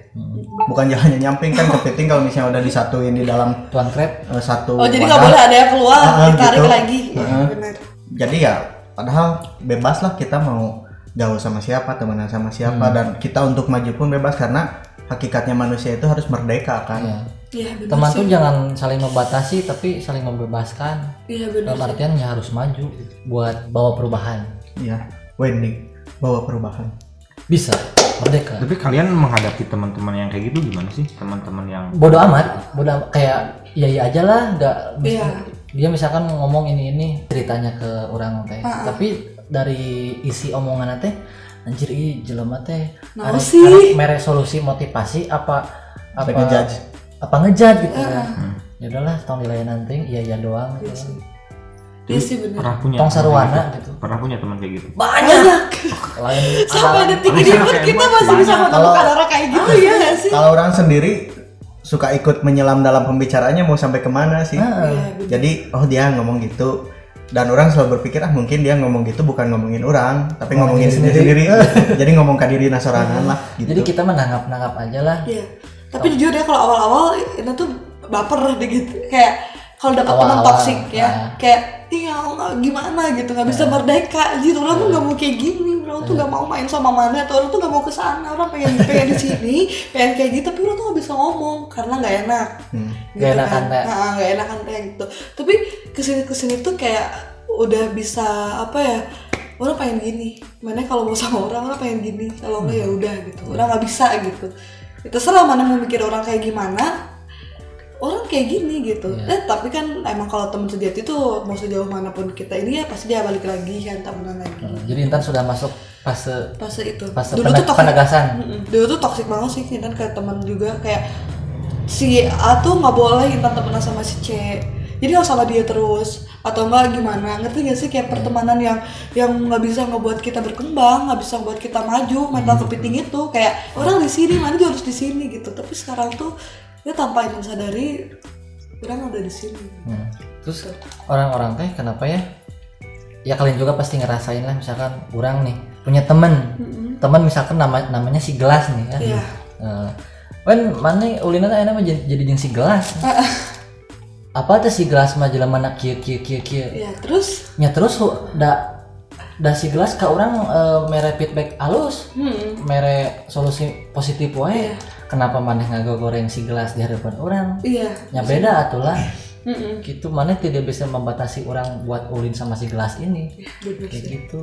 bukan jalannya nyamping kan kepiting kalau misalnya udah disatuin di dalam tuan krep eh, satu oh jadi nggak wadah. boleh ada yang keluar Ah, ah, ditarik gitu. lagi Iya, Ah. benar jadi ya padahal bebas lah kita mau gaul sama siapa temenan sama Hmm. siapa dan kita untuk maju pun bebas karena hakikatnya manusia itu harus Nah. merdeka kan Iya. iya benar teman sih. tuh jangan saling membatasi tapi saling membebaskan iya benar dalam sih. artian ya harus maju buat bawa perubahan ya Wendy bawa perubahan bisa merdeka Tapi kalian menghadapi teman-teman yang kayak gitu gimana sih? Teman-teman yang bodoh amat bodoh am- kayak iya iya aja lah nggak Iya. dia misalkan ngomong ini ini ceritanya ke orang teh Ah, ah. tapi dari isi omongan teh anjir i jelema teh Nah, arek- sih. arek mere solusi motivasi apa apa Apa ngejudge? apa ngejudge gitu Ah, ya ah. ya udahlah tong dilayanan ting iya iya doang Iya gitu. sih. Iya sih benar pernah punya tong teman kayak sarwana gitu gitu? Pernah punya teman kayak gitu? banyak lain sampai alam. detik ini pun kita masih bisa menemukan orang kayak gitu ya nggak sih kalau orang sendiri suka ikut menyelam dalam pembicaraannya mau sampai kemana sih Iya, Ah. benar. jadi oh dia ngomong gitu dan orang selalu berpikir ah mungkin dia ngomong gitu bukan ngomongin orang tapi ngomongin sendiri sendiri jadi ngomong ke diri nasorangan lah gitu jadi kita menanggap nanggap aja lah Iya. Tapi jujur ya kalau awal-awal itu tuh baper deh gitu. Kayak kalau dapat teman Awal-awal, toksik ya, ah. kayak iya nggak- gimana gitu nggak bisa merdeka anjir orang tuh nggak mau kayak gini orang tuh nggak mau main sama mana atau orang tuh nggak mau ke sana orang pengen pengen di sini pengen kayak gitu tapi orang tuh nggak bisa ngomong karena nggak enak Hmm. gitu Nggak enakan, Teh. Nah, nggak enakan kayak gitu tapi kesini kesini tuh kayak udah bisa apa ya orang pengen gini mana kalau mau sama orang orang pengen gini kalau nggak ya udah gitu orang nggak bisa gitu itu serah mana mau mikir orang kayak gimana orang kayak gini gitu Iya. eh tapi kan emang kalau temen sejati tuh mau sejauh manapun kita ini ya pasti dia balik lagi kan temenan lagi Hmm, jadi intan sudah masuk fase pas itu fase dulu peneg- tuh toxic penegasan Mm-mm. dulu tuh toxic banget sih Intan ke teman juga kayak si A tuh nggak boleh Intan temenan sama si C jadi harus sama dia terus atau enggak gimana ngerti gak sih kayak pertemanan yang yang nggak bisa ngebuat kita berkembang nggak bisa buat kita maju mental kepiting itu kayak orang di sini mana juga harus di sini gitu tapi sekarang tuh ya tanpa Intan sadari orang udah di sini Hmm. Terus orang-orang teh kenapa ya? Ya kalian juga pasti ngerasain lah misalkan orang nih punya temen, Mm-mm. temen misalkan nama namanya si gelas nih kan. Iya. Nah, Wen mana ya, ulina teh enak mah jadi jadi jeung si gelas. Apa teh si gelas mah jelema na kieu kieu kieu kieu. ya terus Nya terus hu- da da si gelas ka orang eh, mere feedback alus, hmm, mere solusi positif wae. Kenapa maneh ngagogoreng si gelas di hadapan orang? iya Ya beda atulah Mm-mm. gitu mana tidak bisa membatasi orang buat ulin sama si gelas ini Iya, Bener kayak sih. gitu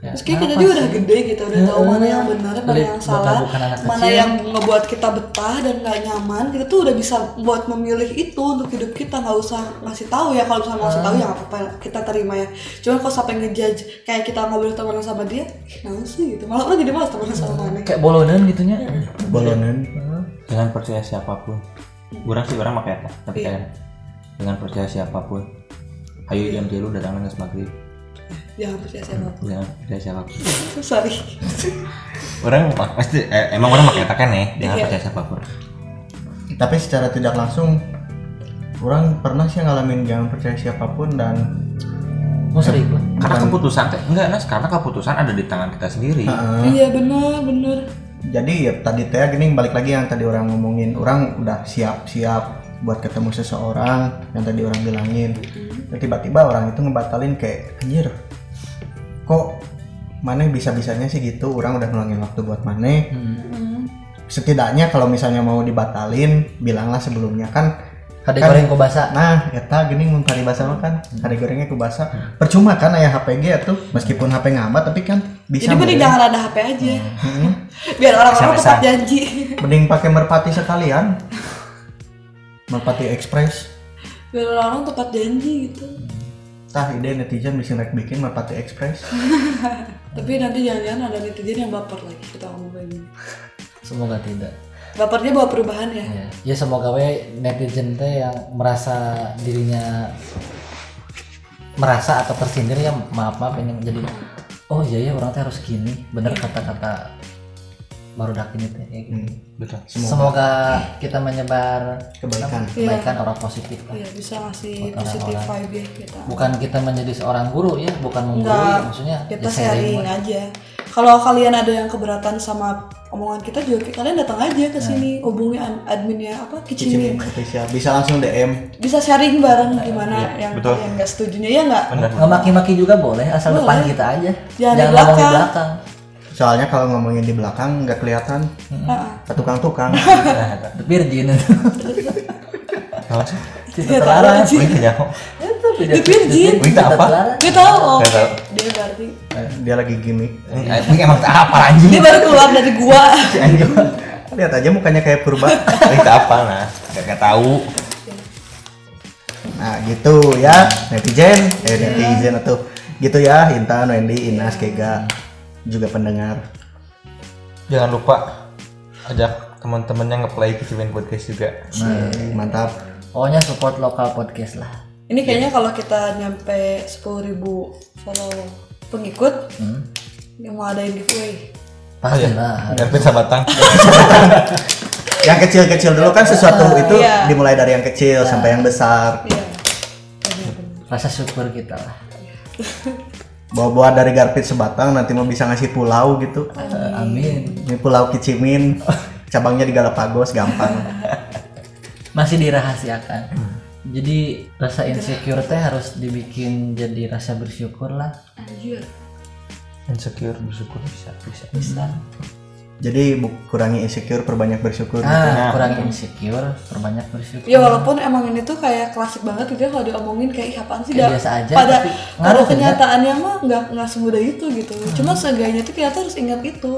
ya, Terus kayak kita kenapa juga udah sih? gede gitu, udah tahu Heeh. mana yang benar, mana Jadi yang bakal salah, bukan anak mana kecil. yang ngebuat kita betah dan nggak nyaman. Kita tuh udah bisa buat memilih itu untuk hidup kita, nggak usah ngasih tahu ya kalau misalnya ngasih tahu ya nggak apa-apa kita terima ya. Cuman kalau sampai ngejudge kayak kita nggak boleh temenan sama dia, kenapa sih gitu? Malah orang jadi malas temenan sama mana. kayak bolonan gitunya Iya. bolonan Jangan percaya siapapun. Orang sih orang pakai apa? Tapi Iya. kalian jangan percaya siapapun. Ayo Iya. jam tilu datang nangis maghrib. Jangan percaya siapa. Jangan percaya siapapun. Sorry. Orang pasti eh, emang orang pakai kan ya. Iya. Jangan percaya siapapun. tapi secara tidak langsung orang pernah sih ngalamin jangan percaya siapapun dan mau Oh, serius lah Karena keputusan teh- enggak Nas, karena keputusan ada di tangan kita sendiri. Iya benar benar. jadi ya tadi teh gini balik lagi yang tadi orang ngomongin orang udah siap-siap buat ketemu seseorang yang tadi orang bilangin Dan tiba-tiba orang itu ngebatalin kayak anjir kok maneh bisa-bisanya sih gitu orang udah ngeluangin waktu buat maneh Hmm. setidaknya kalau misalnya mau dibatalin bilanglah sebelumnya kan kade Kan- goreng kobasa nah eta gini mun kari basa mah kan kari gorengnya ku basa percuma kan aya HPG tuh meskipun HP ngamat tapi kan bisa Jadi ya? mending meureun. jangan ada HP aja. Heeh. Biar orang-orang SMS-an. tepat janji. Mending pakai merpati sekalian. merpati Express. Biar orang-orang tepat janji gitu. Tah ide netizen bisa rek bikin merpati Express. Tapi nanti jangan-jangan ada netizen yang baper lagi kita ngomongin. semoga tidak Bapernya bawa perubahan ya. ya, ya semoga we netizen teh yang merasa dirinya merasa atau tersindir ya maaf maaf ini jadi oh iya ya orang teh harus gini Iya. bener kata-kata baru dak ini teh ya gitu. Hmm, Hmm, betul semoga. kita menyebar Kebaikan. kebaikan orang positif lah. Iya bisa ngasih Buat positif orang-orang. vibe ya kita. bukan kita menjadi seorang guru ya bukan menggurui Enggak. maksudnya Kita ya sharing aja. Kalau kalian ada yang keberatan sama omongan kita juga kalian datang aja Nah. ke sini hubungi an- adminnya apa Kicim kitchen official bisa langsung DM bisa sharing bareng gimana Iya, yang yang nggak setujunya ya nggak nggak maki-maki juga boleh asal Boleh. depan kita aja Jangan di ngomong di belakang. belakang soalnya kalau ngomongin di belakang nggak kelihatan Ah, ah. tukang-tukang The Virgin Cinta Iya, terlarang tahu, Ci. Ini kayak nyaho. Itu beda- The Virgin. Cinta Cinta apa? terlarang. dia tahu oh Nggak tahu. dia berarti Eh, dia lagi gimmick Eh, Ini emang tak apa anjing. dia baru keluar dari gua Si anjing. lihat aja mukanya kayak purba Ini tak apa nah. Gak, gak tahu. nah gitu ya netizen Iya. eh netizen atau gitu ya Intan Wendy Inas Kega juga pendengar Jangan lupa ajak teman-temannya ngeplay Kicimin Podcast juga. Iya. nah, mantap Pokoknya support lokal podcast lah. ini kayaknya kalau kita nyampe 10.000 follow pengikut Hmm. yang mau adain giveaway Pasti lah. Ervin Sabatang. yang kecil-kecil dulu kan sesuatu itu iya. dimulai dari yang kecil sampai yang besar iya Rasa syukur kita lah. bawa-bawa dari garpit sebatang nanti mau bisa ngasih pulau gitu Iya. Eh, Amin. ini pulau Kicimin cabangnya di Galapagos gampang Masih dirahasiakan. Jadi rasa insecure teh harus dibikin jadi rasa bersyukur lah. anjir Insecure bersyukur bisa bisa. jadi bu- kurangi insecure perbanyak bersyukur Ah, kurang insecure, perbanyak bersyukur. ya walaupun emang ini tuh kayak klasik banget gitu ya kalau diomongin kayak "Ih, apaan sih Kayak dah?" biasa aja, pada pada tapi Iya. ngaruh, kan ya. kenyataannya mah nggak nggak semudah itu gitu cuma seenggaknya tuh kita tuh harus ingat itu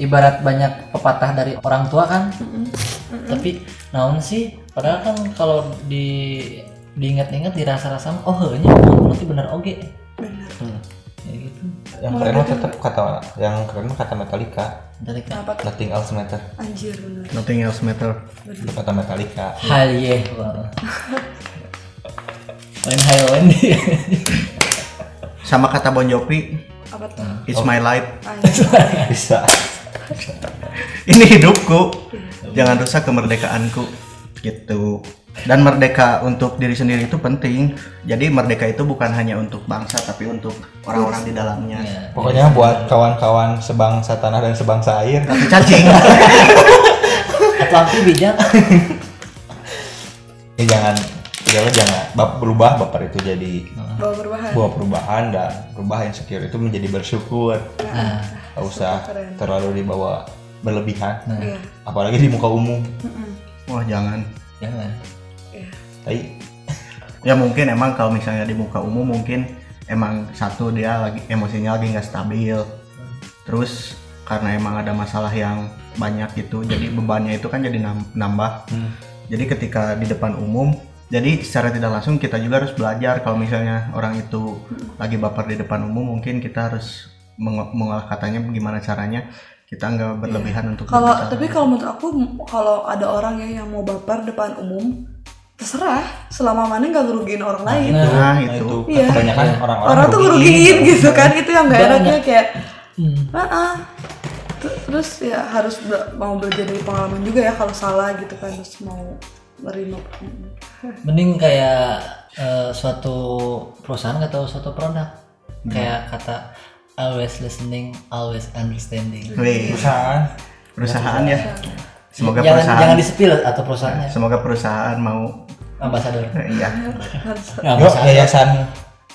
Ibarat banyak pepatah dari orang tua kan. Tapi naon sih? Padahal kan kalau di diingat-ingat dirasa-rasa mah, oh heunya berarti bener oge. Ya gitu. Yang keren mah tetap kata yang keren mah kata Metallica. Dari kan kenapa tuh Nothing else matter. anjir bener nothing else matter Itu kata Metallica. Hal yeh wow. Lain hal lain dia. sama kata Bon Jovi apa tuh Ah, iya. it's my life anjir Bisa. ini hidupku jangan rusak kemerdekaanku gitu dan merdeka untuk diri sendiri itu penting jadi merdeka itu bukan hanya untuk bangsa tapi untuk orang-orang di dalamnya Iya. Iya. Pokoknya buat kawan-kawan sebangsa tanah dan sebangsa air. cacing Atlanti bijak. Ya jangan ya lo jangan bap- berubah baper itu jadi bawa berbahan buah perubahan dan berubah insecure itu menjadi bersyukur. Nah, Gak usah Ah, Keren. terlalu dibawa berlebihan. iya Apalagi di muka umum. wah jangan jangan. Tai. ya mungkin emang kalau misalnya di muka umum mungkin emang satu dia lagi emosinya lagi nggak stabil terus karena emang ada masalah yang banyak gitu jadi bebannya itu kan jadi nam- nambah Hmm. jadi ketika di depan umum jadi secara tidak langsung kita juga harus belajar kalau misalnya orang itu lagi baper di depan umum mungkin kita harus meng- mengolah katanya gimana caranya kita nggak berlebihan untuk kalau berbicara. tapi kalau menurut aku m- kalau ada orang ya yang mau baper depan umum terserah selama mana nggak ngerugiin orang lain nah Nah, itu itu Iya. kebanyakan orang-orang orang tuh ngerugiin gitu kan itu yang nggak Banyak. enaknya kayak Hmm. ah ah." Ter- terus ya harus be- mau belajar dari pengalaman juga ya kalau salah gitu kan terus mau menerima Mending kayak eh, suatu perusahaan atau suatu produk. Hmm. Kayak kata always listening, always understanding. Wih, perusahaan perusahaan ya semoga jangan perusahaan Ya. jangan di spill atau perusahaannya. semoga perusahaan mau Ambasador. iya harus Nah, Yuk, ambasador. yayasan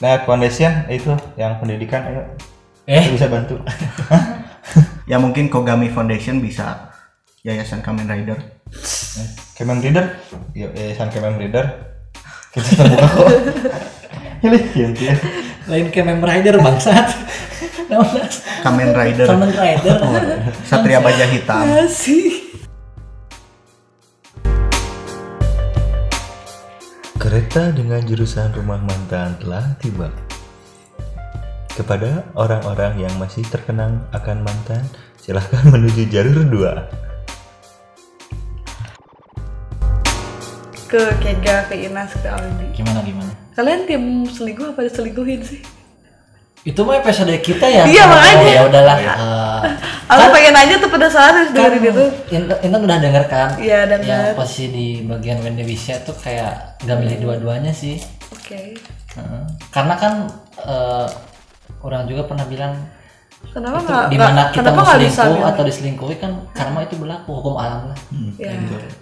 Nah, Foundation itu yang pendidikan ayo Eh, Kita bisa bantu. ya mungkin Kogami Foundation bisa yayasan Kamen Rider Kemen Reader, yuk yayasan Kemen Reader. Kita terbuka kok. Ini ganti ya. lain kayak member rider bangsat. Naon? Kamen Rider Kamen rider. Satria Baja Hitam Ya sih Kereta dengan jurusan rumah mantan telah tiba. Kepada orang-orang yang masih terkenang akan mantan, silahkan menuju jalur 2. ke Kega, ke Inas, ke Aldi. Gimana gimana? Kalian tim selingkuh apa diselingkuhin sih? Itu mah episode kita ya. Iya, Oh, makanya. Ya udahlah. Iya. Aku pengen aja tuh penasaran Eh, sih dengerin kan, itu. Intan- Intan udah denger kan? Iya, denger. Yang posisi di bagian Wendewisya tuh kayak nggak milih dua-duanya sih. Oke. Heeh. Karena kan eh, orang juga pernah bilang Kenapa itu nggak? dimana nggak- kita Kenapa mau nggak bisa? selingkuh gitu? atau diselingkuhi kan karma itu berlaku hukum alam lah Ya. Gak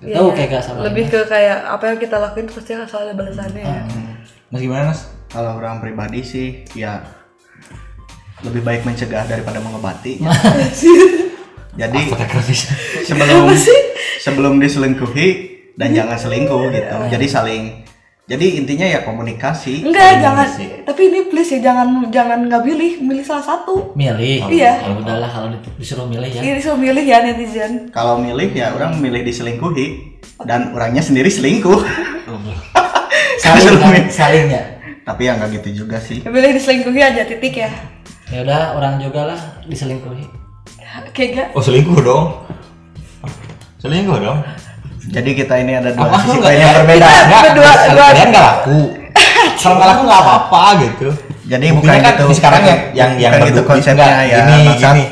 Gitu. tahu kayak gak sama Iya. Lebih ini. ke kayak apa yang kita lakuin pasti akan selalu ada balasannya ya. Hmm. Mas gimana Mas? kalau orang pribadi sih ya lebih baik mencegah daripada mengobati jadi Pakai kertas. sebelum sebelum diselingkuhi dan jangan selingkuh gitu jadi saling jadi intinya ya komunikasi Enggak, jangan. Tapi ini please ya jangan jangan nggak milih, milih salah satu. milih Iya. ya udahlah kalau di- disuruh milih ya Ini disuruh milih ya netizen. kalau milih ya orang milih diselingkuhi dan orangnya sendiri selingkuh saling Disuruh kan? milih. saling ya tapi ya nggak gitu juga sih Milih diselingkuhi aja titik ya. ya udah orang juga lah diselingkuhi Kega. Oh selingkuh dong. Selingkuh dong. jadi kita ini ada dua Apa sisi enggak koin ya? yang berbeda Enggak, berdua- kalau dua- kalian nggak laku. Kalau nggak laku nggak apa-apa gitu. jadi Buktinya bukan kan gitu di sekarang yang yang yang bukan gitu berdua- konsepnya nggak, ya Gini, Bangsat. gini.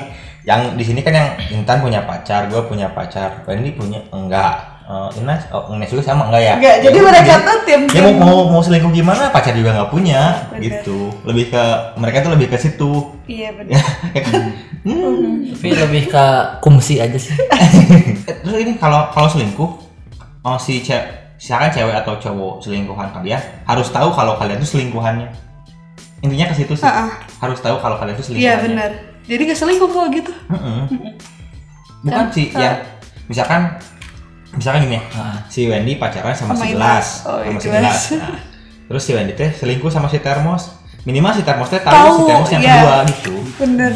Yang di sini kan yang Intan punya pacar, gue punya pacar, Wendy punya enggak. Eh, Inas, oh, Ines juga sama enggak ya? Enggak, jadi Ya, mereka tuh tim. Ya mau, mau mau selingkuh gimana pacar juga nggak punya gitu. Lebih ke mereka tuh lebih ke situ. Iya benar. Ya kan? Hmm. tapi lebih ke kumsi aja sih Eh, Terus ini kalau kalau selingkuh oh, si cewek silakan cewek atau cowok selingkuhan kalian harus tahu kalau kalian tuh selingkuhannya. Intinya ke situ sih. Ah, ah. Harus tahu kalau kalian tuh Iya selingkuhannya. benar. Jadi nggak selingkuh kalau gitu. Heeh. Bukan sih ya. Misalkan misalkan gini ya. Nah. Ah. Si Wendy pacaran sama, Sama si Inas. Gelas, Oh, sama si Gelas. Gelas. Nah, terus si Wendy teh selingkuh sama si Termos. Minimal si Termos teh tahu, si Tahu, Termos yang iya. kedua gitu. Bener.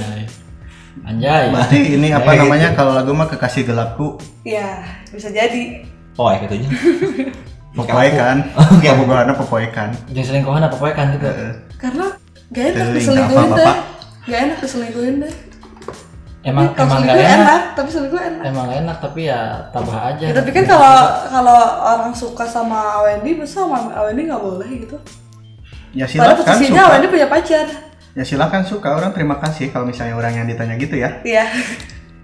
anjay berarti ini apa Kayak namanya kalau lagu mah kekasih gelapku Ya bisa jadi. Oh, ya ketujuh. Popoe kan Oke, yang bubahannya popoe kan jangan selingkuhan apa pokoknya kan gitu Karena gak enak Teling, diselingkuhin apa, deh. Bapak? Gak enak diselingkuhin deh. emang Kalau emang gak selingkuh enak. enak, tapi selingkuh enak. emang gak enak tapi ya tambah aja Ya, tapi kan kalau kalau orang suka sama Wendy, masa sama Wendy nggak boleh gitu? ya Padahal silakan posisinya suka Wendy punya pacar. ya silakan suka orang terima kasih kalau misalnya orang yang ditanya gitu ya Iya.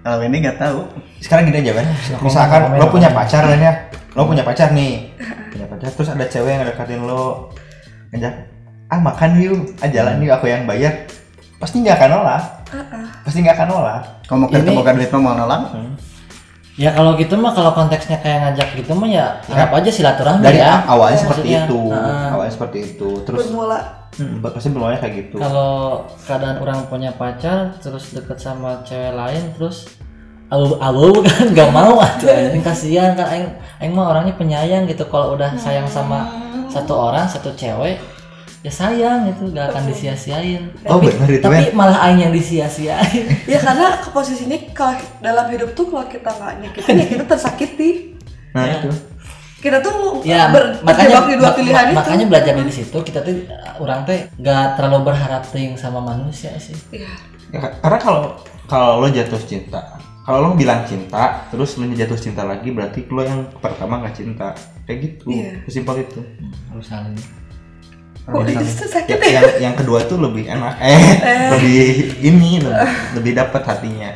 kalau ini nggak tahu sekarang gini aja Ben misalkan lo gitu. punya pacar Ben, ya Hmm. lo punya pacar nih punya pacar terus ada cewek yang deketin lo ngajak ah makan yuk ah Hmm. jalan yuk aku yang bayar pasti nggak akan nolak pasti nggak akan nolak kalau mau Ini- ketemu kan duit mah mau nolak ya kalau gitu mah kalau konteksnya kayak ngajak gitu mah ya anggap aja silaturahmi dari ya awalnya Ya, seperti maksudnya, itu heeh. awalnya seperti itu terus Bermula. hmm, pasti belumnya kayak gitu Kalau keadaan orang punya pacar terus deket sama cewek lain terus awu awu kan nggak mau atuh Nah. anjing kasihan kan aing aing mah orangnya penyayang gitu Nah. kalau udah sayang sama satu orang satu cewek ya sayang gitu gak akan disia-siain Oh, bener itu, tapi malah aing yang disia-siain Ya karena ke posisinya kalau dalam hidup tuh kalau kita nggak nyakitin ya kita tersakiti. nah itu Kita tuh ya ber- makanya terjebak di dua mak- pilihan mak- itu. makanya belajar dari situ kita tuh orang teh gak terlalu berharap ting sama manusia sih Iya. Ya, ka- karena kalau kalau lo jatuh cinta kalau lo bilang cinta terus lo jatuh cinta lagi berarti lo yang pertama nggak cinta kayak gitu Iya. sesimpel itu Hmm, harus saling Kok itu sakit yang, yang yang kedua tuh lebih enak eh, lebih ini lebih, lebih dapat hatinya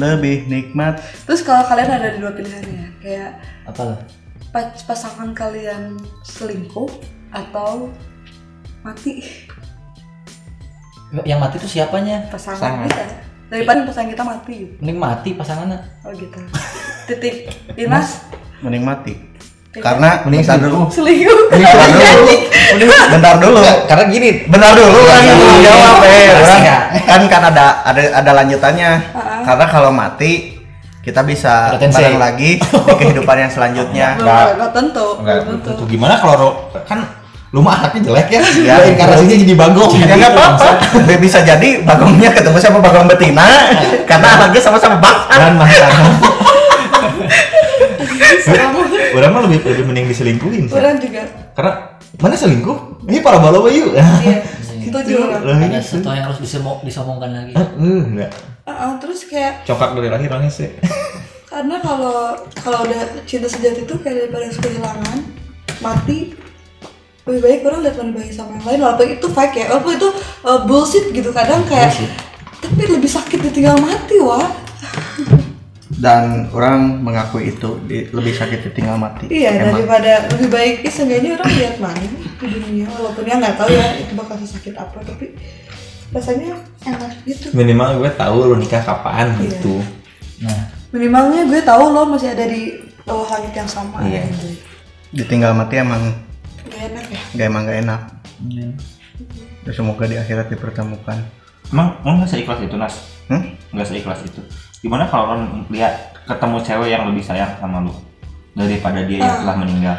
lebih nikmat Terus kalau kalian ada di dua pilihan ya, kayak apa lah pac- pasangan kalian selingkuh atau mati yang mati tuh siapanya pasangan Pasangan. kita daripada pasangan kita mati gitu. mending mati pasangannya Oh gitu. Titik Inas menikmati Iya. karena Mending bentar sih. dulu selingkuh. bentar dulu bentar dulu karena gini bentar dulu kan belum jawab eh Pasti Orang- nggak? kan kan ada ada ada lanjutannya karena kalau mati kita bisa Ada tensi. bareng lagi di kehidupan yang selanjutnya Enggak, enggak tentu. enggak Belum tentu gimana kalau ro- kan lu mah anaknya jelek ya Iya. Lo inkarnasinya jadi Iya, kan? bagong Ya nggak apa-apa, Be- bisa jadi bagongnya ketemu sama bagong betina karena anaknya sama-sama bak. dan mantan Sama. orang mah lebih lebih mending diselingkuhin sih Orang juga. karena mana selingkuh ini para balo yuk Gitu. Iya. Itu juga. Lah ada ini sih. sesuatu yang harus disemok disomongkan lagi Ah, eh, enggak. Heeh, terus kayak Cokak dari lahir orangnya sih. karena kalau kalau udah cinta sejati tuh kayak daripada harus kehilangan mati lebih baik orang lihat wanita baik sama yang lain walaupun itu fake ya walaupun itu uh, bullshit gitu kadang kayak tapi lebih sakit ditinggal mati wah dan orang mengakui itu di- lebih sakit ditinggal mati iya Emang. daripada lebih baik eh, seenggaknya orang lihat mana di dunia walaupun ya nggak tahu ya itu bakal sesakit apa tapi rasanya enak gitu Minimal gue tahu lo nikah kapan gitu. Nah. minimalnya gue tahu lo masih ada di bawah langit yang sama Iya. gitu. ditinggal mati emang Gak enak ya gak emang gak enak Iya. Ya, semoga di akhirat dipertemukan Emang emang nggak seikhlas itu Nas? Hmm? Nggak seikhlas itu. Gimana kalau lo lihat ketemu cewek yang lebih sayang sama lu daripada dia yang telah meninggal?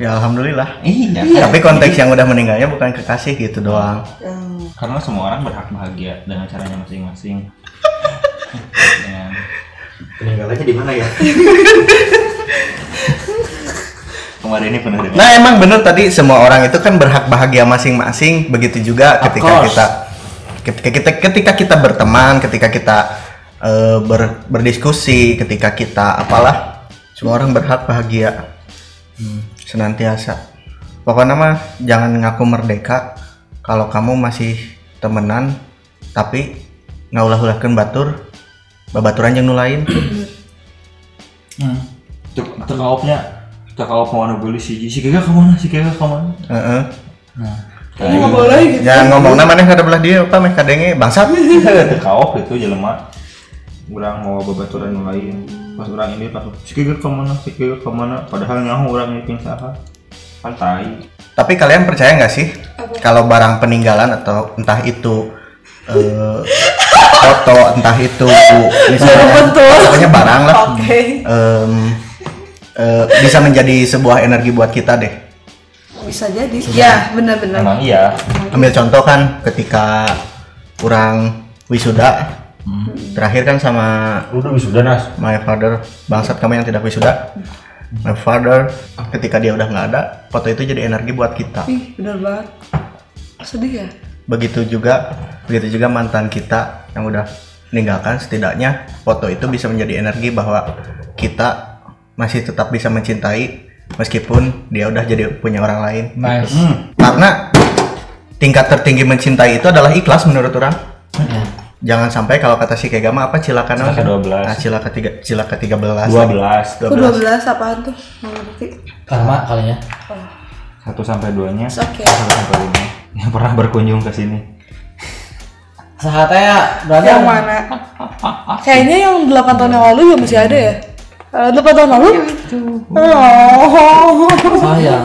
ya alhamdulillah Iya. tapi konteks yang udah meninggalnya bukan kekasih gitu doang yang Karena semua orang berhak bahagia dengan caranya masing-masing. Dengan Peninggalannya di mana ya? kemarin ini penuh dengan nah emang bener tadi semua orang itu kan berhak bahagia masing-masing begitu juga Of ketika course. kita ketika kita ketika kita berteman ketika kita eh, ber- berdiskusi ketika kita apalah semua orang berhak bahagia Hmm, senantiasa pokoknya mah jangan ngaku merdeka kalau kamu masih temenan tapi nggak ulah-ulahkan batur babaturan yang nulain Hmm. Ter- Terkaopnya terkaop mau ngebeli si si kagak kemana si kagak kemana? Heeh. ini nggak boleh gitu jangan ngomong namanya kada belah dia apa meh kadenge bangsat terkaop itu jelema orang mau babaturan nu lain pas orang ini langsung sikir kemana sikir kemana padahal nyaho orang ini pingsaha pantai Tapi kalian percaya nggak sih kalau barang peninggalan atau entah itu eh, foto, entah itu misalnya pokoknya barang lah, Oke. em, eh, bisa menjadi sebuah energi buat kita deh. bisa jadi ya benar-benar emang iya Ambil contoh kan ketika kurang wisuda, terakhir kan sama Lu udah wisuda Nas. my father bangsat kamu yang tidak wisuda. My father ketika dia udah nggak ada, foto itu jadi energi buat kita. Ih, benar banget. Sedih ya? begitu juga begitu juga mantan kita yang udah meninggalkan setidaknya foto itu bisa menjadi energi bahwa kita masih tetap bisa mencintai meskipun dia udah jadi punya orang lain nice Hmm. karena tingkat tertinggi mencintai itu adalah ikhlas menurut orang Ya. jangan sampai kalau kata si Kegama apa cilaka naon? Cilaka 12. nah, cilaka tiga cilaka 13 dua belas Aku 12 apaan tuh? Nggak ngerti. karma ya. kalinya satu sampai duanya It's okay. satu sampai lima yang pernah berkunjung ke sini sehatnya ya berarti Yang mana? Kayaknya yang 8 tahun yang lalu ya masih ada ya? Eh, 8 tahun lalu? Oh. sayang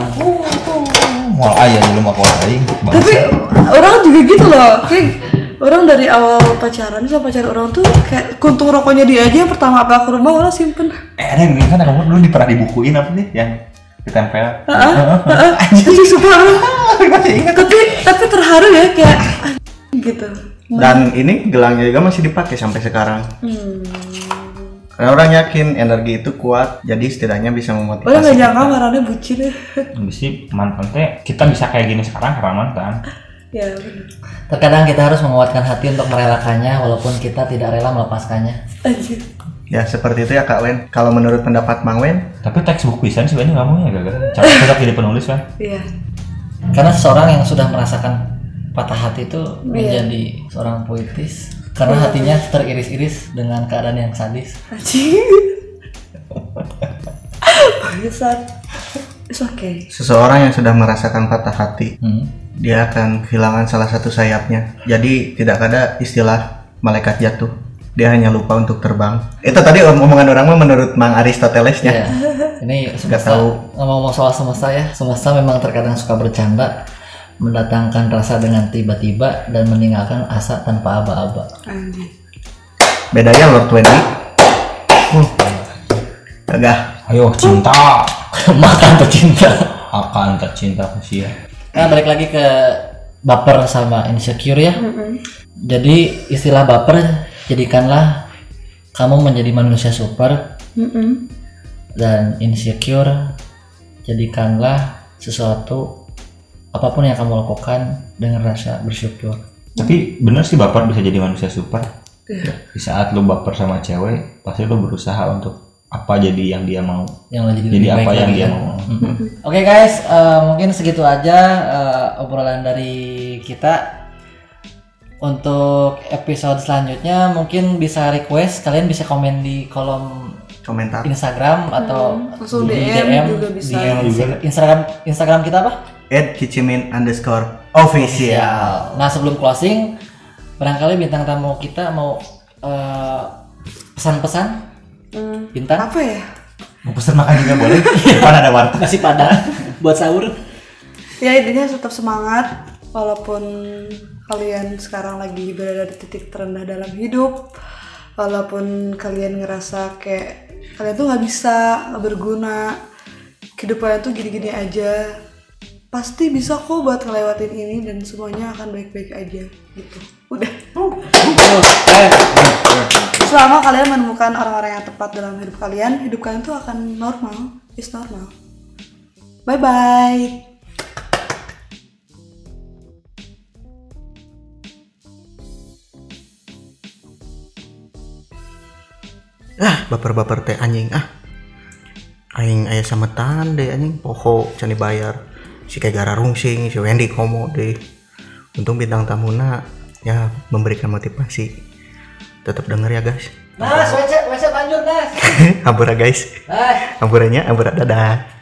Hmm, Mau iya, aja lu mau kuat aing. Tapi orang juga gitu loh. Kayak orang dari awal pacaran sama pacar orang tuh kayak kuntung rokoknya dia aja yang pertama apa ke rumah orang simpen. eh ada yang ini kan kamu dulu di- pernah dibukuin apa sih yang ditempel Heeh. Jadi super. Tapi tapi terharu ya kayak ah, gitu. dan ini gelangnya juga masih dipakai sampai sekarang Hmm. karena orang yakin energi itu kuat jadi setidaknya bisa Orang memotivasi nggak nyangka marahnya bucin ya. Habis sih mantan teh kita bisa kayak gini sekarang karena mantan ya bener. terkadang kita harus menguatkan hati untuk merelakannya walaupun kita tidak rela melepaskannya Anjir. Ya seperti itu ya Kak Wen. Kalau menurut pendapat Mang Wen, tapi textbook pisan sih banyak ngomongnya ya, gagal cocok cocok jadi penulis kan Iya. karena seorang yang sudah merasakan patah hati itu menjadi seorang puitis karena hatinya teriris-iris dengan keadaan yang sadis Anjir. Bangsat. It's okay. seseorang yang sudah merasakan patah hati, Hmm. dia akan kehilangan salah satu sayapnya. Jadi tidak ada istilah malaikat jatuh. Dia hanya lupa untuk terbang. Itu tadi om- omongan orang mah menurut Mang Aristotelesnya. Ya, ini Iya. Nggak semesta tahu. ngomong-ngomong soal semesta ya, semesta memang terkadang suka bercanda, mendatangkan rasa dengan tiba-tiba dan meninggalkan asa tanpa aba-aba. Anjir. Bedanya Lord Wendy. Hmm. Gagah. Ayo Oh, cinta Maka tercinta. akan tercinta usia. Nah, balik lagi ke baper sama insecure ya. Jadi istilah baper jadikanlah kamu menjadi manusia super Mm-mm. dan insecure jadikanlah sesuatu apapun yang kamu lakukan dengan rasa bersyukur Tapi bener sih baper bisa jadi manusia super. Di saat lu baper sama cewek, pasti lu berusaha untuk apa jadi yang dia mau. yang jadi Jadi lebih baik apa yang lagi dia ya. mau. Mhm. Oke guys, eh, mungkin segitu aja eh, obrolan dari kita. Untuk episode selanjutnya mungkin bisa request, kalian bisa komen di kolom komentar Instagram atau langsung di DM juga bisa. DM Instagram Instagram kita apa? at kicimin underscore official Nah sebelum closing, barangkali bintang tamu kita mau eh, pesan-pesan Hmm, bintang apa ya Mau pesen makan juga boleh. Depan ada warteg. nasi padang buat sahur. ya intinya tetap semangat walaupun kalian sekarang lagi berada di titik terendah dalam hidup walaupun kalian ngerasa kayak kalian tuh nggak bisa nggak berguna kehidupan tuh gini-gini aja pasti bisa kok buat ngelewatin ini dan semuanya akan baik-baik aja gitu udah selama kalian menemukan orang-orang yang tepat dalam hidup kalian hidup kalian tuh akan normal is normal bye bye ah baper-baper teh anjing ah aing ayah sametan deh anjing poho can dibayar si kegara rungsing si Wendy komo deh untung bintang tamuna ya memberikan motivasi tetap denger ya guys Nas, WC, WC lanjut Nas. hampura guys Nas. hampurannya hampura dadah